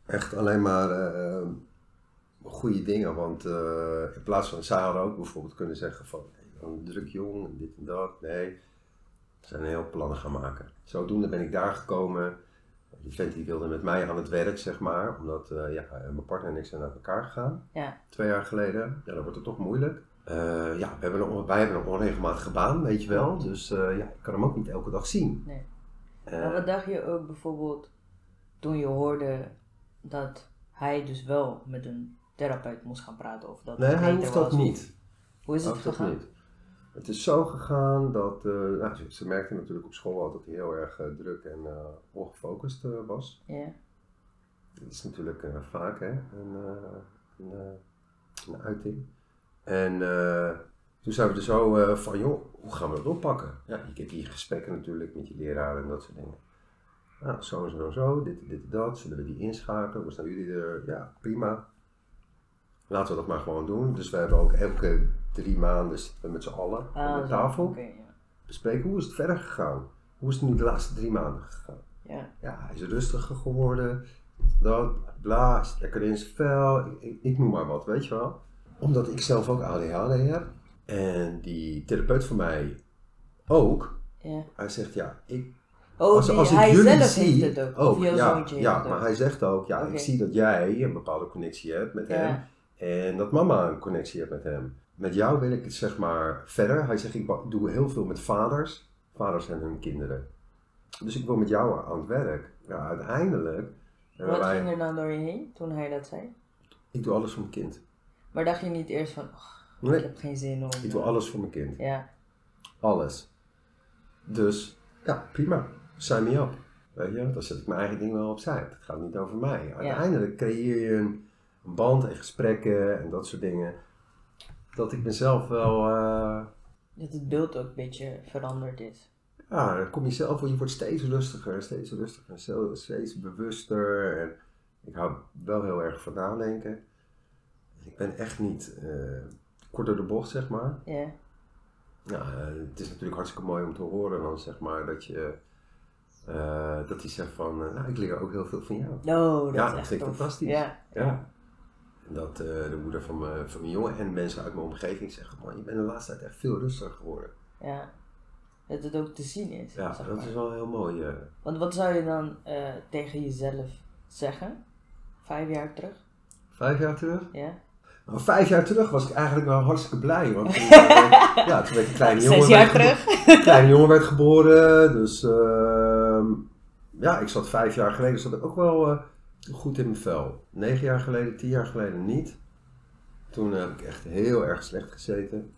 Speaker 2: echt alleen maar eh, eh, goede dingen. Want eh, in plaats van, zij hadden ook bijvoorbeeld kunnen zeggen van hey, een druk jong en dit en dat. Nee, ze zijn heel plannen gaan maken. Zodoende ben ik daar gekomen. Die vent die wilde met mij aan het werk, zeg maar. Omdat eh, ja, mijn partner en ik zijn uit elkaar gegaan
Speaker 1: Ja.
Speaker 2: twee jaar geleden. Ja, dan wordt het toch moeilijk. Eh, ja, we hebben een, on- wij hebben een onregelmatige baan, weet je wel. Dus eh, ja, ik kan hem ook niet elke dag zien.
Speaker 1: Nee.
Speaker 2: Eh,
Speaker 1: Maar wat dacht je ook bijvoorbeeld toen je hoorde dat hij dus wel met een therapeut moest gaan praten? Of dat
Speaker 2: nee,
Speaker 1: het
Speaker 2: hij
Speaker 1: beter
Speaker 2: hoeft dat
Speaker 1: was?
Speaker 2: niet.
Speaker 1: Hoe is het
Speaker 2: Ook dat
Speaker 1: gegaan?
Speaker 2: niet. Het is zo gegaan dat, eh, nou, ze, ze merkte natuurlijk op school al dat hij heel erg eh, druk en eh, ongefocust eh, was.
Speaker 1: Ja.
Speaker 2: Dat is natuurlijk eh, vaak hè, een, eh, een, eh, een uiting. En eh, toen zijn we er zo eh, van, joh, hoe gaan we dat oppakken? Ja, je hebt die gesprekken natuurlijk met je leraar en dat soort dingen. Nou, zo en zo en zo, dit en dit en dat, zullen we die inschakelen? Hoe staan jullie er? Ja, prima. Laten we dat maar gewoon doen. Dus we hebben ook elke drie maanden zitten we met z'n allen
Speaker 1: Ah,
Speaker 2: aan
Speaker 1: zo.
Speaker 2: de tafel.
Speaker 1: Oké, ja.
Speaker 2: Bespreken hoe is het verder gegaan? Hoe is het nu de laatste drie maanden gegaan?
Speaker 1: Ja.
Speaker 2: ja, hij is rustiger geworden. Dat, bla, is lekker in zijn vel. Ik, ik- ik noem maar wat, weet je wel. Omdat ik zelf ook ADHD heb. En die therapeut van mij ook.
Speaker 1: ja.
Speaker 2: Hij zegt, ja, ik,
Speaker 1: Oh,
Speaker 2: als,
Speaker 1: die-
Speaker 2: als ik
Speaker 1: hij
Speaker 2: jullie
Speaker 1: zelf
Speaker 2: zie, oh,
Speaker 1: heeft het ook. of jouw
Speaker 2: ja,
Speaker 1: zoontje heeft
Speaker 2: ja,
Speaker 1: het
Speaker 2: maar
Speaker 1: ook.
Speaker 2: hij zegt ook, ja,
Speaker 1: Oké.
Speaker 2: ik zie dat jij een bepaalde connectie hebt met
Speaker 1: Ja.
Speaker 2: hem. En dat mama een connectie heeft met hem. Met jou wil ik het zeg maar verder. Hij zegt, ik ba- doe heel veel met vaders. Vaders en hun kinderen. Dus ik wil met jou aan het werk. Ja, uiteindelijk. hebben
Speaker 1: Wat
Speaker 2: wij-
Speaker 1: ging er dan door je heen toen hij dat zei?
Speaker 2: Ik doe alles voor mijn kind.
Speaker 1: Maar dacht je niet eerst van, "Och, ik
Speaker 2: Nee,
Speaker 1: heb geen zin om...
Speaker 2: ik doe alles voor mijn kind.
Speaker 1: Ja,
Speaker 2: Alles. Dus, ja, prima. Sign me up. Weet je, dan zet ik mijn eigen ding wel opzij. Het gaat niet over mij. Uiteindelijk creëer je een, een band en gesprekken en dat soort dingen. Dat ik mezelf wel... eh,
Speaker 1: dat het beeld ook een beetje veranderd is.
Speaker 2: Ja, dan kom je zelf, je wordt steeds rustiger, steeds rustiger, en zo- steeds bewuster. En ik hou wel heel erg van nadenken. Ik ben echt niet eh, kort door de bocht, zeg maar.
Speaker 1: Ja,
Speaker 2: Ja, eh, het is natuurlijk hartstikke mooi om te horen dan, zeg maar, dat je... eh, dat hij zegt van, eh, nou, ik leer ook heel veel van jou.
Speaker 1: no, Oh, dat
Speaker 2: Ja,
Speaker 1: is
Speaker 2: dat
Speaker 1: echt
Speaker 2: vind ik
Speaker 1: tof.
Speaker 2: fantastisch.
Speaker 1: Ja,
Speaker 2: Ja. En dat eh, de moeder van mijn, van mijn jongen en mensen uit mijn omgeving zeggen, man, je bent de laatste tijd echt veel rustiger geworden.
Speaker 1: ja. Dat het ook te zien is.
Speaker 2: Ja,
Speaker 1: zeg
Speaker 2: dat
Speaker 1: maar.
Speaker 2: is wel heel mooi. eh.
Speaker 1: Want wat zou je dan eh, tegen jezelf zeggen? Vijf jaar terug?
Speaker 2: Vijf jaar terug?
Speaker 1: Ja?
Speaker 2: Nou, vijf jaar terug was ik eigenlijk wel hartstikke blij. Want toen, eh, ja, toen werd een kleine jongen.
Speaker 1: Zes jaar
Speaker 2: werd gebo-
Speaker 1: terug?
Speaker 2: Kleine jongen werd geboren. Dus eh, ehm, ja, ik zat vijf jaar geleden zat ik ook wel eh, goed in mijn vel. Negen jaar geleden, tien jaar geleden niet. Toen heb ik echt heel erg slecht gezeten.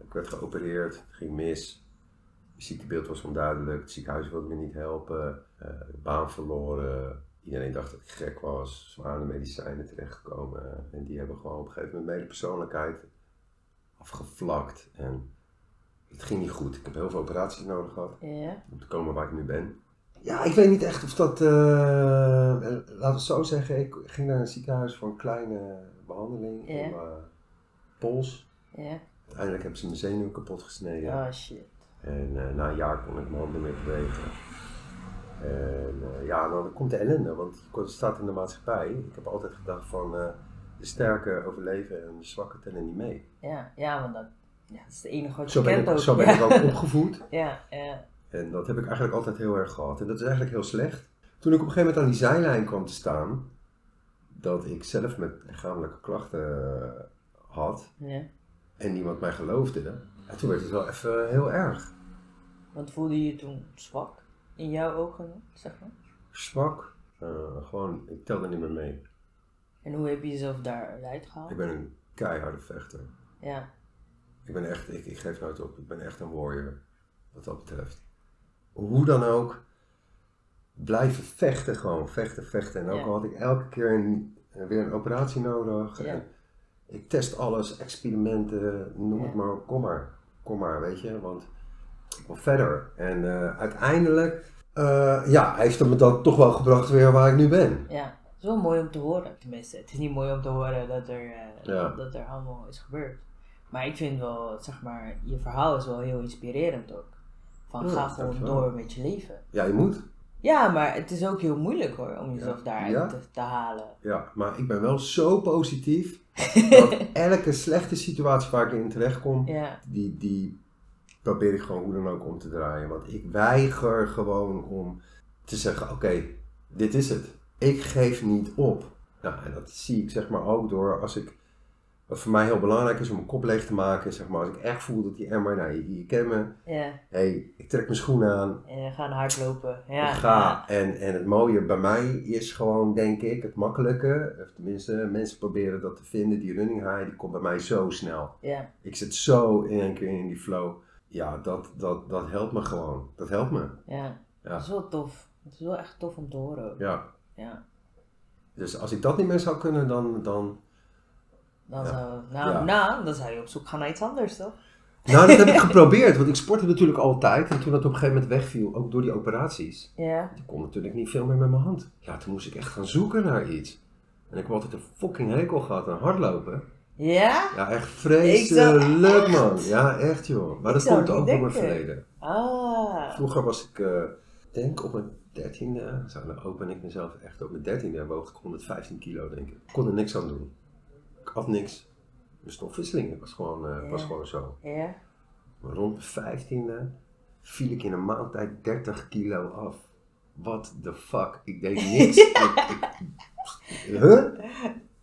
Speaker 2: Ik werd geopereerd, het ging mis. Het ziektebeeld was onduidelijk, het ziekenhuis wilde me niet helpen. Eh, baan verloren. Iedereen dacht dat ik gek was. Zware medicijnen terechtgekomen. En die hebben gewoon op een gegeven moment mijn hele persoonlijkheid afgevlakt. En het ging niet goed. Ik heb heel veel operaties nodig gehad
Speaker 1: Ja.
Speaker 2: om te komen waar ik nu ben. Ja, ik weet niet echt of dat. eh, laten we het zo zeggen, ik ging naar een ziekenhuis voor een kleine behandeling.
Speaker 1: Ja.
Speaker 2: Om, eh, pols.
Speaker 1: Ja.
Speaker 2: Uiteindelijk hebben ze mijn zenuw kapot gesneden.
Speaker 1: Oh shit.
Speaker 2: En eh, na een jaar kon ik mijn handen meer bewegen. En eh, ja, dan komt de ellende, want je kon- staat in de maatschappij. Ik heb altijd gedacht van eh, de sterke overleven en de zwakke tellen niet mee.
Speaker 1: Ja, ja want dat, ja, dat is de enige wat je
Speaker 2: Zo ben
Speaker 1: kent
Speaker 2: ik,
Speaker 1: ook.
Speaker 2: zo ben
Speaker 1: ja.
Speaker 2: ik ook opgevoed.
Speaker 1: Ja, ja.
Speaker 2: En dat heb ik eigenlijk altijd heel erg gehad. En dat is eigenlijk heel slecht. Toen ik op een gegeven moment aan die zijlijn kwam te staan, dat ik zelf met lichamelijke klachten eh, had
Speaker 1: ja.
Speaker 2: en niemand mij geloofde, en toen werd het wel even heel erg.
Speaker 1: Want voelde je je toen zwak? In jouw ogen, zeg maar?
Speaker 2: Zwak, eh, gewoon, ik telde niet meer mee.
Speaker 1: En hoe heb je jezelf daaruit gehaald?
Speaker 2: Ik ben een keiharde vechter.
Speaker 1: Ja,
Speaker 2: Ik ben echt, ik, ik geef nooit op. Ik ben echt een warrior, wat dat betreft. Hoe dan ook, blijven vechten gewoon. Vechten, vechten. En ook
Speaker 1: Ja.
Speaker 2: al had ik elke keer een- weer een operatie nodig.
Speaker 1: Ja.
Speaker 2: En ik test alles, experimenten, noem
Speaker 1: Ja.
Speaker 2: het maar. Kom maar, kom maar, weet je. Want ik wil verder. En eh, uiteindelijk, eh, ja, heeft het me dan toch wel gebracht weer waar ik nu ben.
Speaker 1: ja. Het is wel mooi om te horen. Tenminste, het is niet mooi om te horen dat er, eh,
Speaker 2: Ja.
Speaker 1: dat er allemaal is gebeurd. Maar ik vind wel, zeg maar, je verhaal is wel heel inspirerend ook. Van
Speaker 2: Ja,
Speaker 1: ga gewoon
Speaker 2: dankjewel.
Speaker 1: door met je leven.
Speaker 2: Ja, je moet.
Speaker 1: Ja, maar het is ook heel moeilijk hoor, om jezelf daaruit
Speaker 2: Ja.
Speaker 1: te, te halen.
Speaker 2: Ja, maar ik ben wel zo positief dat elke slechte situatie waar ik in terecht kom,
Speaker 1: Ja,
Speaker 2: die, die probeer ik gewoon hoe dan ook om te draaien. Want ik weiger gewoon om te zeggen, oké, dit is het. Ik geef niet op. Nou, en dat zie ik zeg maar ook door als ik... Wat voor mij heel belangrijk is om mijn kop leeg te maken, zeg maar. Als ik echt voel dat die emmer, nou, je, je kent me.
Speaker 1: ja.
Speaker 2: hey, ik trek mijn schoenen aan.
Speaker 1: En gaan hardlopen. Ja.
Speaker 2: Ik ga. En, en het mooie bij mij is gewoon, denk ik, het makkelijke. Of tenminste, mensen proberen dat te vinden. Die running high, die komt bij mij zo snel.
Speaker 1: Ja,
Speaker 2: Ik zit zo in een keer in die flow. Ja, dat, dat, dat helpt me gewoon. Dat helpt me.
Speaker 1: ja.
Speaker 2: Ja.
Speaker 1: Dat is wel tof. Het is wel echt tof om te horen ook.
Speaker 2: Ja.
Speaker 1: Ja.
Speaker 2: Dus als ik dat niet meer zou kunnen, dan... dan...
Speaker 1: Dan
Speaker 2: Ja.
Speaker 1: zou, nou,
Speaker 2: Ja.
Speaker 1: nou, dan zou je op zoek gaan naar iets anders toch?
Speaker 2: Nou, dat heb ik geprobeerd. Want ik sportte natuurlijk altijd. En toen dat op een gegeven moment wegviel, ook door die operaties.
Speaker 1: Ja.
Speaker 2: Ik kon natuurlijk niet veel meer met mijn hand. Ja, toen moest ik echt gaan zoeken naar iets. En ik heb altijd een fucking hekel gehad aan hardlopen.
Speaker 1: Ja?
Speaker 2: Ja, echt
Speaker 1: Ik zou
Speaker 2: vreselijk,
Speaker 1: echt-
Speaker 2: man. Ja, echt, joh. Maar dat
Speaker 1: zou
Speaker 2: komt
Speaker 1: niet
Speaker 2: ook door mijn
Speaker 1: denken.
Speaker 2: verleden.
Speaker 1: Ah.
Speaker 2: Vroeger was ik, eh, denk op mijn dertiende, zo, nou open ik mezelf echt op mijn dertiende, woog ik 115 kilo, denk ik. Ik kon er niks aan doen. Ik had niks. Mijn stofwisseling het was gewoon, eh,
Speaker 1: Ja.
Speaker 2: was gewoon zo.
Speaker 1: Ja.
Speaker 2: Maar rond mijn vijftiende viel ik in een maand tijd 30 kilo af. What the fuck? Ik deed niks. Ik- ik- huh?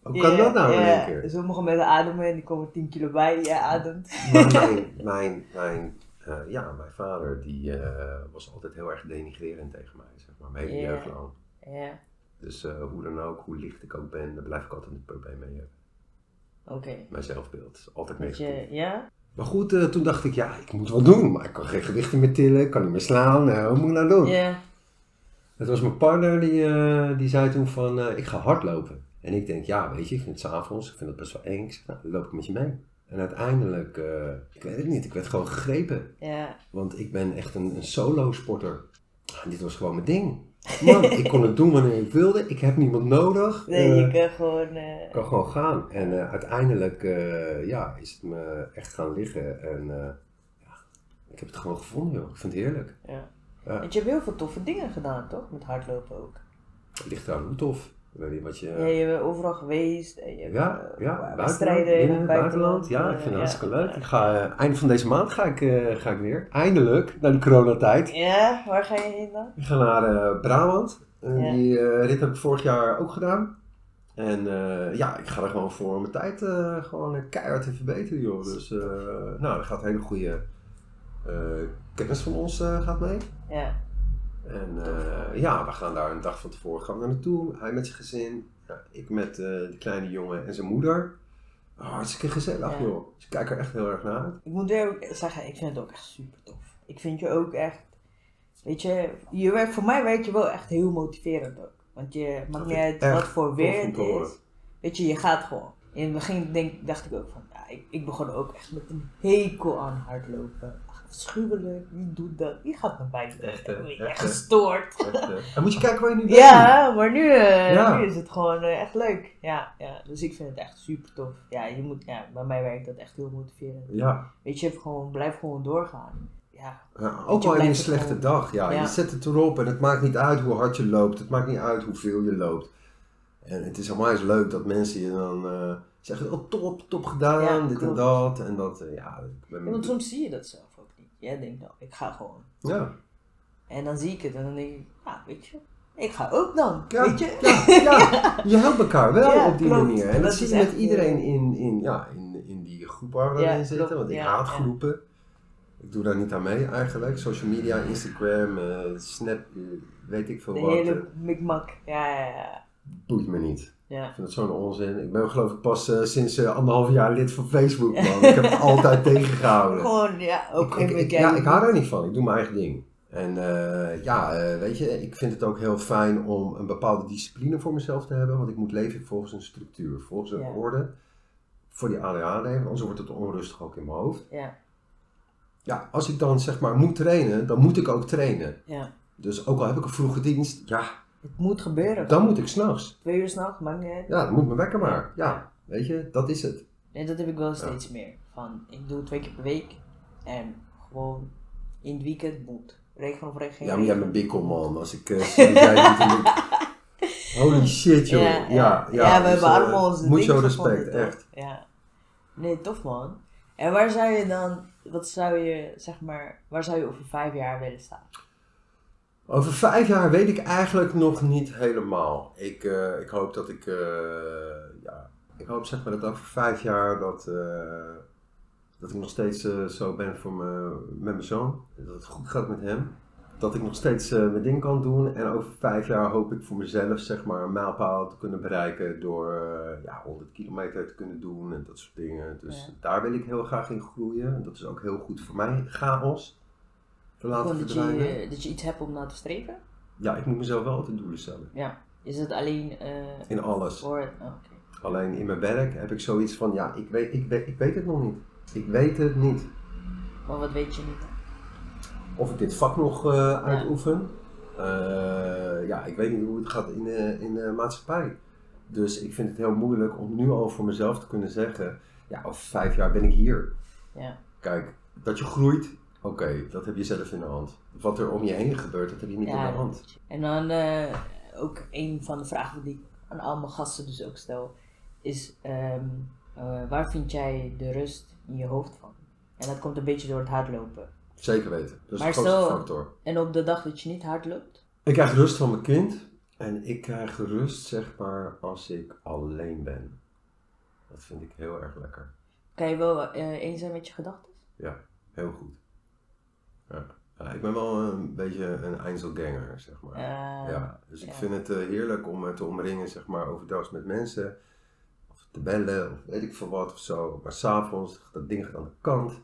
Speaker 2: Hoe kan
Speaker 1: Ja,
Speaker 2: dat nou in
Speaker 1: ja.
Speaker 2: één keer?
Speaker 1: Sommige mensen ademen en die komen 10 kilo bij die jij ademt.
Speaker 2: Maar mijn, mijn, mijn, eh, ja, mijn vader die, eh, was altijd heel erg denigrerend tegen mij, zeg maar, mijn hele
Speaker 1: Ja.
Speaker 2: jeugd lang.
Speaker 1: Ja.
Speaker 2: Dus eh, hoe dan ook, hoe licht ik ook ben, daar blijf ik altijd een probleem mee hebben.
Speaker 1: Oké.
Speaker 2: Mijn zelfbeeld is altijd
Speaker 1: Dat
Speaker 2: negatief.
Speaker 1: je, ja?
Speaker 2: Maar goed, eh, toen dacht ik, ja, ik moet wat doen, maar ik kan geen gewichten meer tillen, ik kan niet meer slaan, eh, wat moet ik nou doen?
Speaker 1: Ja.
Speaker 2: Het was mijn partner die, eh, die zei toen van, eh, ik ga hardlopen. En ik denk, ja, weet je, ik vind het s'avonds, ik vind het best wel eng. Ik zeg, nou, dan loop ik met je mee. En uiteindelijk, eh, ik weet het niet, ik werd gewoon gegrepen.
Speaker 1: Ja.
Speaker 2: Want ik ben echt een, een solo-sporter. En dit was gewoon mijn ding. Man, ik kon het doen wanneer ik wilde. Ik heb niemand nodig.
Speaker 1: Nee,
Speaker 2: Eh,
Speaker 1: je kan gewoon... eh,
Speaker 2: ik kan gewoon gaan. En eh, uiteindelijk eh, ja, is het me echt gaan liggen. En eh, ja, ik heb het gewoon gevonden, joh. Ik vind het heerlijk.
Speaker 1: ja.
Speaker 2: Ja.
Speaker 1: Want je hebt heel veel toffe dingen gedaan, toch? Met hardlopen ook.
Speaker 2: Het ligt daar hoe tof. Ik weet niet wat
Speaker 1: Ja,
Speaker 2: je...
Speaker 1: je bent overal geweest. En je hebt,
Speaker 2: Ja,
Speaker 1: eh,
Speaker 2: ja, buitenland,
Speaker 1: wedstrijden in
Speaker 2: binnen,
Speaker 1: het
Speaker 2: buitenland. Ja, ik vind het
Speaker 1: eh,
Speaker 2: hartstikke leuk. Ik ga, eh, einde van deze maand ga ik, eh, ga ik weer. Eindelijk, na de coronatijd.
Speaker 1: Ja, waar ga je heen dan?
Speaker 2: Ik ga naar eh, Brabant. En
Speaker 1: Ja.
Speaker 2: Die eh, rit heb ik vorig jaar ook gedaan. En eh, ja, ik ga er gewoon voor om mijn tijd eh, gewoon eh, keihard te verbeteren, joh. Dus eh, nou, er gaat een hele goede eh, kennis van ons eh, gaat mee.
Speaker 1: Ja,
Speaker 2: En eh, ja, we gaan daar een dag van tevoren gaan we daar naartoe. Hij met zijn gezin, ja, ik met eh, de kleine jongen en zijn moeder. Oh, hartstikke gezellig
Speaker 1: Ja.
Speaker 2: joh. Dus ik kijk er echt heel erg naar uit.
Speaker 1: Ik moet weer ook zeggen, ik vind het ook echt super tof. Ik vind je ook echt, weet je, je werkt, voor mij werkt je wel echt heel motiverend ook. Want je maakt niet
Speaker 2: Dat vind ik
Speaker 1: uit
Speaker 2: echt
Speaker 1: wat voor
Speaker 2: tof
Speaker 1: weer
Speaker 2: om
Speaker 1: het
Speaker 2: te horen.
Speaker 1: is. Weet je, je gaat gewoon. In het begin denk, dacht ik ook van, ja, ik, ik begon ook echt met een hekel aan hardlopen. Ach, Afschuwelijk, wie doet dat? Wie gaat naar buiten?
Speaker 2: Echt, hè?
Speaker 1: Ik ben
Speaker 2: Echt,
Speaker 1: echt
Speaker 2: hè?
Speaker 1: gestoord.
Speaker 2: Echt, eh, en moet je kijken waar je nu bent.
Speaker 1: Ja, maar nu, eh,
Speaker 2: Ja.
Speaker 1: nu is het gewoon eh, echt leuk. Ja, ja, dus ik vind het echt super tof. Ja, je moet, ja, bij mij werkt dat echt heel motiverend.
Speaker 2: Ja,
Speaker 1: Weet je, gewoon, blijf gewoon doorgaan. Ja,
Speaker 2: ja,
Speaker 1: Weet
Speaker 2: ook
Speaker 1: je,
Speaker 2: al in een
Speaker 1: blijft
Speaker 2: slechte
Speaker 1: gewoon-
Speaker 2: dag. Ja,
Speaker 1: Ja.
Speaker 2: Je zet het erop en het maakt niet uit hoe hard je loopt. Het maakt niet uit hoeveel je loopt. En het is allemaal eens leuk dat mensen je dan eh, zeggen, oh top, top gedaan,
Speaker 1: Ja,
Speaker 2: dit en
Speaker 1: klopt.
Speaker 2: dat. En dat, eh, ja. Ik ben,
Speaker 1: Ja, want soms zie je dat zelf ook niet. Jij denkt, nou, ik ga gewoon.
Speaker 2: ja.
Speaker 1: En dan zie ik het en dan denk ik, ja, weet je, ik ga ook dan.
Speaker 2: Ja,
Speaker 1: Weet je?
Speaker 2: Ja, ja, je helpt elkaar wel
Speaker 1: Ja,
Speaker 2: op die
Speaker 1: klopt.
Speaker 2: manier. En dat,
Speaker 1: Dat
Speaker 2: zie
Speaker 1: is
Speaker 2: je met
Speaker 1: echt,
Speaker 2: iedereen
Speaker 1: eh,
Speaker 2: in, in, ja, in, in die groep waar we
Speaker 1: Ja,
Speaker 2: dan in zitten.
Speaker 1: klopt,
Speaker 2: Want ik
Speaker 1: ja,
Speaker 2: haat
Speaker 1: ja.
Speaker 2: groepen. Ik doe daar niet aan mee eigenlijk. Social media, Instagram, eh, Snap, eh, weet ik veel
Speaker 1: De
Speaker 2: wat. eh,
Speaker 1: hele mikmak. Ja, ja, ja.
Speaker 2: boeit me niet.
Speaker 1: Ja,
Speaker 2: Ik vind het zo'n onzin. Ik ben geloof ik pas eh, sinds eh, anderhalf jaar lid van Facebook, man. Ik heb het altijd tegengehouden.
Speaker 1: Gewoon, ja,
Speaker 2: Oh, Ik-
Speaker 1: ook
Speaker 2: ik-
Speaker 1: een
Speaker 2: ik-
Speaker 1: beetje.
Speaker 2: ja, ik hou daar niet van. Ik doe mijn eigen ding. En eh, ja, eh, weet je, ik vind het ook heel fijn om een bepaalde discipline voor mezelf te hebben. Want ik moet leven volgens een structuur, volgens een
Speaker 1: Ja.
Speaker 2: orde. Voor die ADHD, want anders wordt het onrustig ook in mijn hoofd.
Speaker 1: Ja,
Speaker 2: Ja, als ik dan zeg maar moet trainen, dan moet ik ook trainen.
Speaker 1: ja.
Speaker 2: Dus ook al heb ik een vroege dienst, ja,
Speaker 1: Het moet gebeuren.
Speaker 2: dan moet ik s'nachts.
Speaker 1: Twee uur s'nachts, maakt niet uit.
Speaker 2: Ja, dan moet mijn wekker maar. Ja, weet je, dat is het.
Speaker 1: Nee, dat heb ik wel
Speaker 2: Ja.
Speaker 1: steeds meer. Van, ik doe het twee keer per week. En gewoon in het weekend moet. Regen of regen. geen
Speaker 2: Ja, maar jij
Speaker 1: regen.
Speaker 2: bent bikkel, man. Als ik eh, zie dat jij dit doet, Holy shit, joh. Ja, ja,
Speaker 1: ja, Ja, we hebben
Speaker 2: dus, eh,
Speaker 1: allemaal onze
Speaker 2: Moet je
Speaker 1: dingen
Speaker 2: respect,
Speaker 1: gevonden, toch?
Speaker 2: echt.
Speaker 1: Ja. Nee, tof man. En waar zou je dan, wat zou je, zeg maar, waar zou je over vijf jaar willen staan?
Speaker 2: Over vijf jaar weet ik eigenlijk nog niet helemaal. Ik, eh, ik hoop dat ik, eh, ja, ik hoop zeg maar dat over vijf jaar dat, eh, dat ik nog steeds eh, zo ben voor me, met mijn zoon. Dat het goed gaat met hem. Dat ik nog steeds eh, mijn ding kan doen. En over vijf jaar hoop ik voor mezelf zeg maar een mijlpaal te kunnen bereiken door eh, ja, 100 kilometer te kunnen doen en dat soort dingen. Dus
Speaker 1: Ja.
Speaker 2: daar wil ik heel graag in groeien. Dat is ook heel goed voor mij. Chaos. Te laten
Speaker 1: Gewoon dat je,
Speaker 2: verdwijnen.
Speaker 1: eh, dat je iets hebt om naar te streven?
Speaker 2: Ja, ik moet mezelf wel altijd doelen stellen.
Speaker 1: Ja. Is het alleen eh,
Speaker 2: In alles.
Speaker 1: voor, oh, oké.
Speaker 2: Alleen in mijn werk heb ik zoiets van, ja, ik weet, ik weet, ik weet het nog niet. Ik weet het niet.
Speaker 1: Maar wat weet je niet?
Speaker 2: Of ik dit vak nog eh, uitoefen. Eh, ja, ik weet niet hoe het gaat in de, in de maatschappij. Dus ik vind het heel moeilijk om nu al voor mezelf te kunnen zeggen, ja, over vijf jaar ben ik hier.
Speaker 1: Ja.
Speaker 2: Kijk, dat je groeit, oké, dat heb je zelf in de hand. Wat er om je heen gebeurt, dat heb je niet
Speaker 1: Ja,
Speaker 2: in de
Speaker 1: dat
Speaker 2: hand.
Speaker 1: En dan eh, ook een van de vragen die ik aan al mijn gasten dus ook stel, is ehm, eh, waar vind jij de rust in je hoofd van? En dat komt een beetje door het hardlopen.
Speaker 2: Zeker weten. Dat is
Speaker 1: Maar
Speaker 2: de grootste
Speaker 1: stel-
Speaker 2: factor.
Speaker 1: En op de dag dat je niet hardloopt,
Speaker 2: Ik krijg rust van mijn kind en ik krijg rust, zeg maar, als ik alleen ben. Dat vind ik heel erg lekker.
Speaker 1: kan je wel eh eens zijn met je gedachten?
Speaker 2: Ja, heel goed. Ja. Ja, ik ben wel een beetje een Einzelganger, zeg maar.
Speaker 1: Eh,
Speaker 2: ja, dus ik
Speaker 1: ja.
Speaker 2: vind het eh, heerlijk om me te omringen, zeg maar, overdag met mensen. Of te bellen, of weet ik veel wat, of zo. Maar s'avonds, dat ding gaat aan de kant. Ik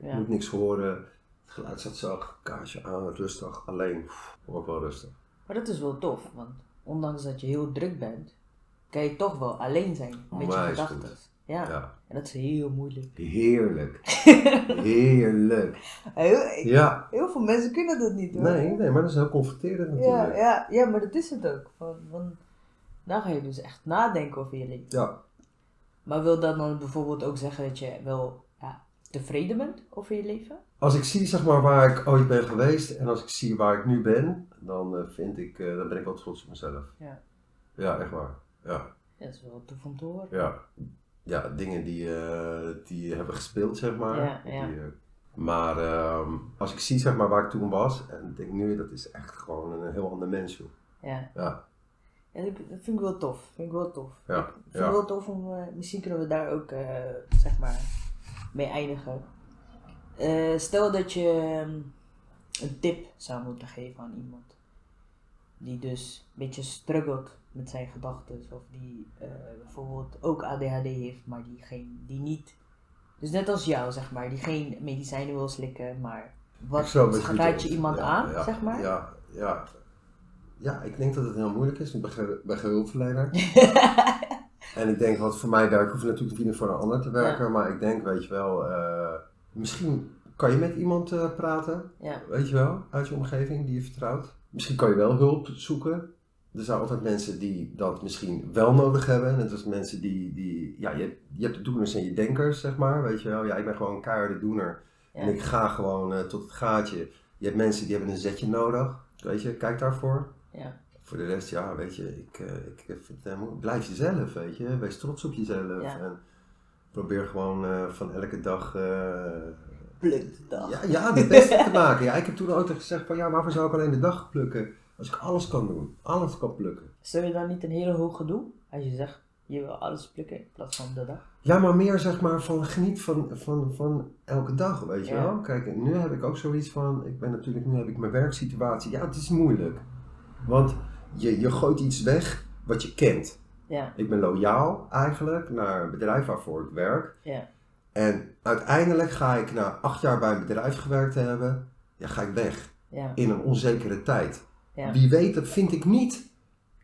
Speaker 1: Ehm, ja.
Speaker 2: moet niks horen. Het geluid staat zacht, kaarsje aan, rustig, alleen. Pff, Ook wel rustig.
Speaker 1: Maar dat is wel tof, want ondanks dat je heel druk bent, kan je toch wel alleen zijn met je
Speaker 2: Onwijs
Speaker 1: gedachten.
Speaker 2: goed.
Speaker 1: Ja.
Speaker 2: ja.
Speaker 1: en dat is heel moeilijk.
Speaker 2: Heerlijk. Heerlijk.
Speaker 1: Eh, Heel,
Speaker 2: Ja.
Speaker 1: heel veel mensen kunnen dat niet hoor.
Speaker 2: Nee, nee, maar dat is heel confronterend
Speaker 1: Ja,
Speaker 2: natuurlijk.
Speaker 1: ja,
Speaker 2: Ja,
Speaker 1: ja, maar dat is het ook. Van, van, dan ga je dus echt nadenken over je leven. Maar wil dat dan bijvoorbeeld ook zeggen dat je wel ja, tevreden bent over je leven?
Speaker 2: Als ik zie zeg maar, waar ik ooit ben geweest en als ik zie waar ik nu ben, dan, eh, vind ik, eh, dan ben ik wel trots op mezelf.
Speaker 1: Ja.
Speaker 2: Ja, echt waar. Ja,
Speaker 1: Ja, dat is wel tof om te horen.
Speaker 2: ja. ja dingen die, eh, die hebben gespeeld, zeg maar.
Speaker 1: Ja, ja.
Speaker 2: Die, eh, maar ehm, als ik zie zeg maar, waar ik toen was en ik denk nu, dat is echt gewoon een heel ander mens, joh.
Speaker 1: Ja.
Speaker 2: Ja,
Speaker 1: Ja, dat dat vind ik wel tof. Vind ik wel tof.
Speaker 2: Ja,
Speaker 1: Ik vind
Speaker 2: ja.
Speaker 1: het wel tof om, eh, misschien kunnen we daar ook, eh, zeg maar, mee eindigen. Eh, stel dat je, ehm, een tip zou moeten geven aan iemand die dus een beetje struggelt met zijn gedachten of die eh, bijvoorbeeld ook ADHD heeft, maar die, geen, die niet, dus net als jou zeg maar, die geen medicijnen wil slikken, maar
Speaker 2: Ik
Speaker 1: wat
Speaker 2: zou best goed
Speaker 1: raad je
Speaker 2: doen.
Speaker 1: iemand
Speaker 2: Ja,
Speaker 1: aan,
Speaker 2: ja,
Speaker 1: zeg maar?
Speaker 2: Ja, ja. ja, ik denk dat het heel moeilijk is. Ik ben geen- ben geen hulpverlener. En ik denk wat voor mij daar ik hoef natuurlijk niet voor een ander te werken, maar ik denk, weet je wel, eh, misschien kan je met iemand eh, praten,
Speaker 1: ja.
Speaker 2: weet je wel, uit je omgeving die je vertrouwt. Misschien kan je wel hulp zoeken. Er zijn altijd mensen die dat misschien wel nodig hebben. Net als mensen die, die ja, je, hebt- je hebt de doeners en je denkers, zeg maar, weet je wel. Ja, ik ben gewoon een keiharde doener
Speaker 1: Ja.
Speaker 2: en ik ga gewoon eh, tot het gaatje. Je hebt mensen die hebben een zetje nodig, weet je, kijk daarvoor.
Speaker 1: Ja.
Speaker 2: Voor de rest, ja, weet je, ik, eh, ik vind het helemaal- blijf jezelf, weet je. Wees trots op jezelf.
Speaker 1: Ja.
Speaker 2: En probeer gewoon eh, van elke dag, eh,
Speaker 1: Blunt dag.
Speaker 2: ja, ja, de beste te maken. Ja, ik heb toen altijd gezegd van, ja, waarvoor zou ik alleen de dag plukken? Als ik alles kan doen, alles kan plukken.
Speaker 1: Stel je dan niet een hele hoge doel als je zegt je wil alles plukken in plaats van de dag?
Speaker 2: Ja, maar meer zeg maar van geniet van, van, van elke dag, weet je
Speaker 1: Ja.
Speaker 2: wel. Kijk, en nu heb ik ook zoiets van, ik ben natuurlijk, nu heb ik mijn werksituatie. Ja, het is moeilijk. Want je, je gooit iets weg wat je kent.
Speaker 1: Ja,
Speaker 2: Ik ben loyaal eigenlijk naar het bedrijf waarvoor ik werk.
Speaker 1: ja,
Speaker 2: En uiteindelijk ga ik na acht jaar bij een bedrijf gewerkt te hebben, ja, ga ik weg.
Speaker 1: ja,
Speaker 2: In een onzekere tijd.
Speaker 1: ja.
Speaker 2: Wie weet, dat vind ik niet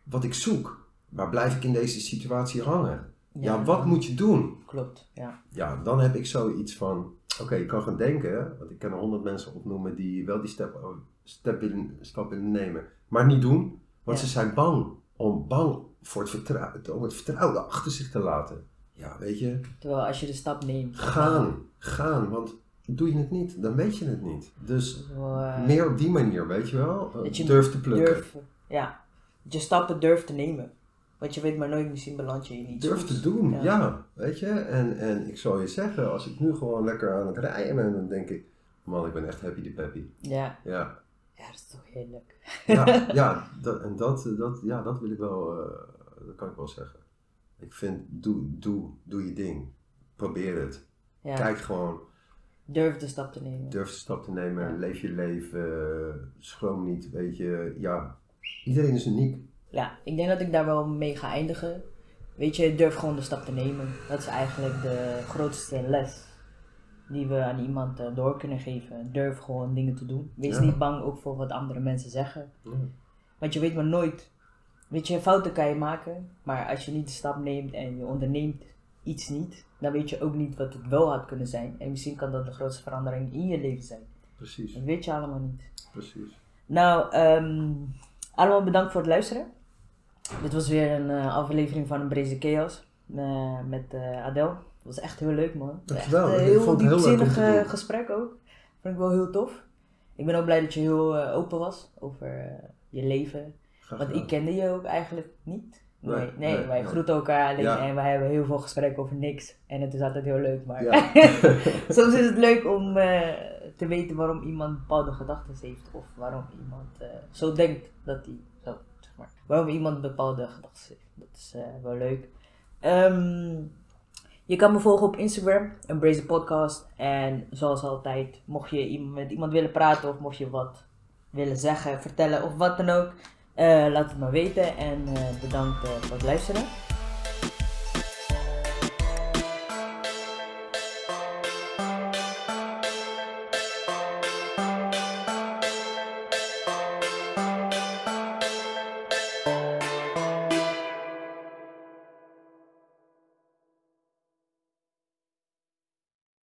Speaker 2: wat ik zoek. Maar blijf ik in deze situatie hangen? ja wat moet je doen?
Speaker 1: Klopt, ja.
Speaker 2: ja, dan heb ik zoiets van, oké, je kan gaan denken, want ik kan er honderd mensen opnoemen die wel die step, oh, step in, stap willen nemen, maar niet doen, want
Speaker 1: Ja.
Speaker 2: ze zijn bang om, bang voor het vertrouwen, om het vertrouwen achter zich te laten. Ja, weet je,
Speaker 1: Terwijl als je de stap neemt.
Speaker 2: gaan, gaan, want doe je het niet, dan weet je het niet. Dus
Speaker 1: Wel, eh,
Speaker 2: meer op die manier, weet je wel, Eh,
Speaker 1: Dat je
Speaker 2: durf te plukken. Durf,
Speaker 1: Durf, ja. Dat Je stappen durft te nemen. Want je weet maar nooit, misschien beland je in iets.
Speaker 2: te doen,
Speaker 1: Ja.
Speaker 2: ja. weet je. En, en ik zal je zeggen, als ik nu gewoon lekker aan het rijden ben, dan denk ik, man, ik ben echt happy de peppy.
Speaker 1: Ja.
Speaker 2: Ja,
Speaker 1: ja, dat is toch heerlijk.
Speaker 2: Ja, ja, dat, en dat, dat, ja, dat wil ik wel, eh, dat kan ik wel zeggen. Ik vind, doe, doe, doe je ding. Probeer het.
Speaker 1: Ja.
Speaker 2: Kijk gewoon,
Speaker 1: Durf de stap te nemen.
Speaker 2: durf de stap te nemen,
Speaker 1: Ja.
Speaker 2: leef je leven, eh, schroom niet, weet je. Ja, iedereen is uniek.
Speaker 1: Ja, ik denk dat ik daar wel mee ga eindigen. Weet je, durf gewoon de stap te nemen. Dat is eigenlijk de grootste les die we aan iemand eh, door kunnen geven. Durf gewoon dingen te doen. Wees
Speaker 2: Ja.
Speaker 1: niet bang ook voor wat andere mensen zeggen.
Speaker 2: Ja.
Speaker 1: Want je weet maar nooit. Weet je, fouten kan je maken, maar als je niet de stap neemt en je onderneemt iets niet, dan weet je ook niet wat het wel had kunnen zijn. En misschien kan dat de grootste verandering in je leven zijn.
Speaker 2: Precies,
Speaker 1: Dat weet je allemaal niet.
Speaker 2: precies.
Speaker 1: Nou, ehm, allemaal bedankt voor het luisteren. Dit was weer een eh, aflevering van een Breze Chaos eh, met eh Adel. Het was echt heel leuk, man.
Speaker 2: Dankjewel,
Speaker 1: Echt, eh,
Speaker 2: ik
Speaker 1: heel
Speaker 2: vond het heel leuk om te
Speaker 1: diepzinnig eh,
Speaker 2: doen.
Speaker 1: gesprek ook. Vond ik wel heel tof. Ik ben ook blij dat je heel eh, open was over eh, je leven.
Speaker 2: Graag
Speaker 1: Want
Speaker 2: gedaan.
Speaker 1: ik kende je ook eigenlijk niet. Nee,
Speaker 2: Nee,
Speaker 1: nee,
Speaker 2: nee,
Speaker 1: wij
Speaker 2: nee.
Speaker 1: groeten elkaar alleen
Speaker 2: Ja.
Speaker 1: en wij hebben heel veel gesprekken over niks. En het is altijd heel leuk, maar
Speaker 2: Ja.
Speaker 1: Soms is het leuk om eh, te weten waarom iemand bepaalde gedachten heeft of waarom iemand eh, zo denkt dat hij zo, zeg maar. Waarom iemand bepaalde gedachten heeft. Dat is eh, wel leuk. Ehm, je kan me volgen op Instagram, Embrace the Podcast. En zoals altijd, mocht je iemand- met iemand willen praten of mocht je wat willen zeggen, vertellen of wat dan ook, eh, laat het me weten. En eh, bedankt eh, voor het luisteren.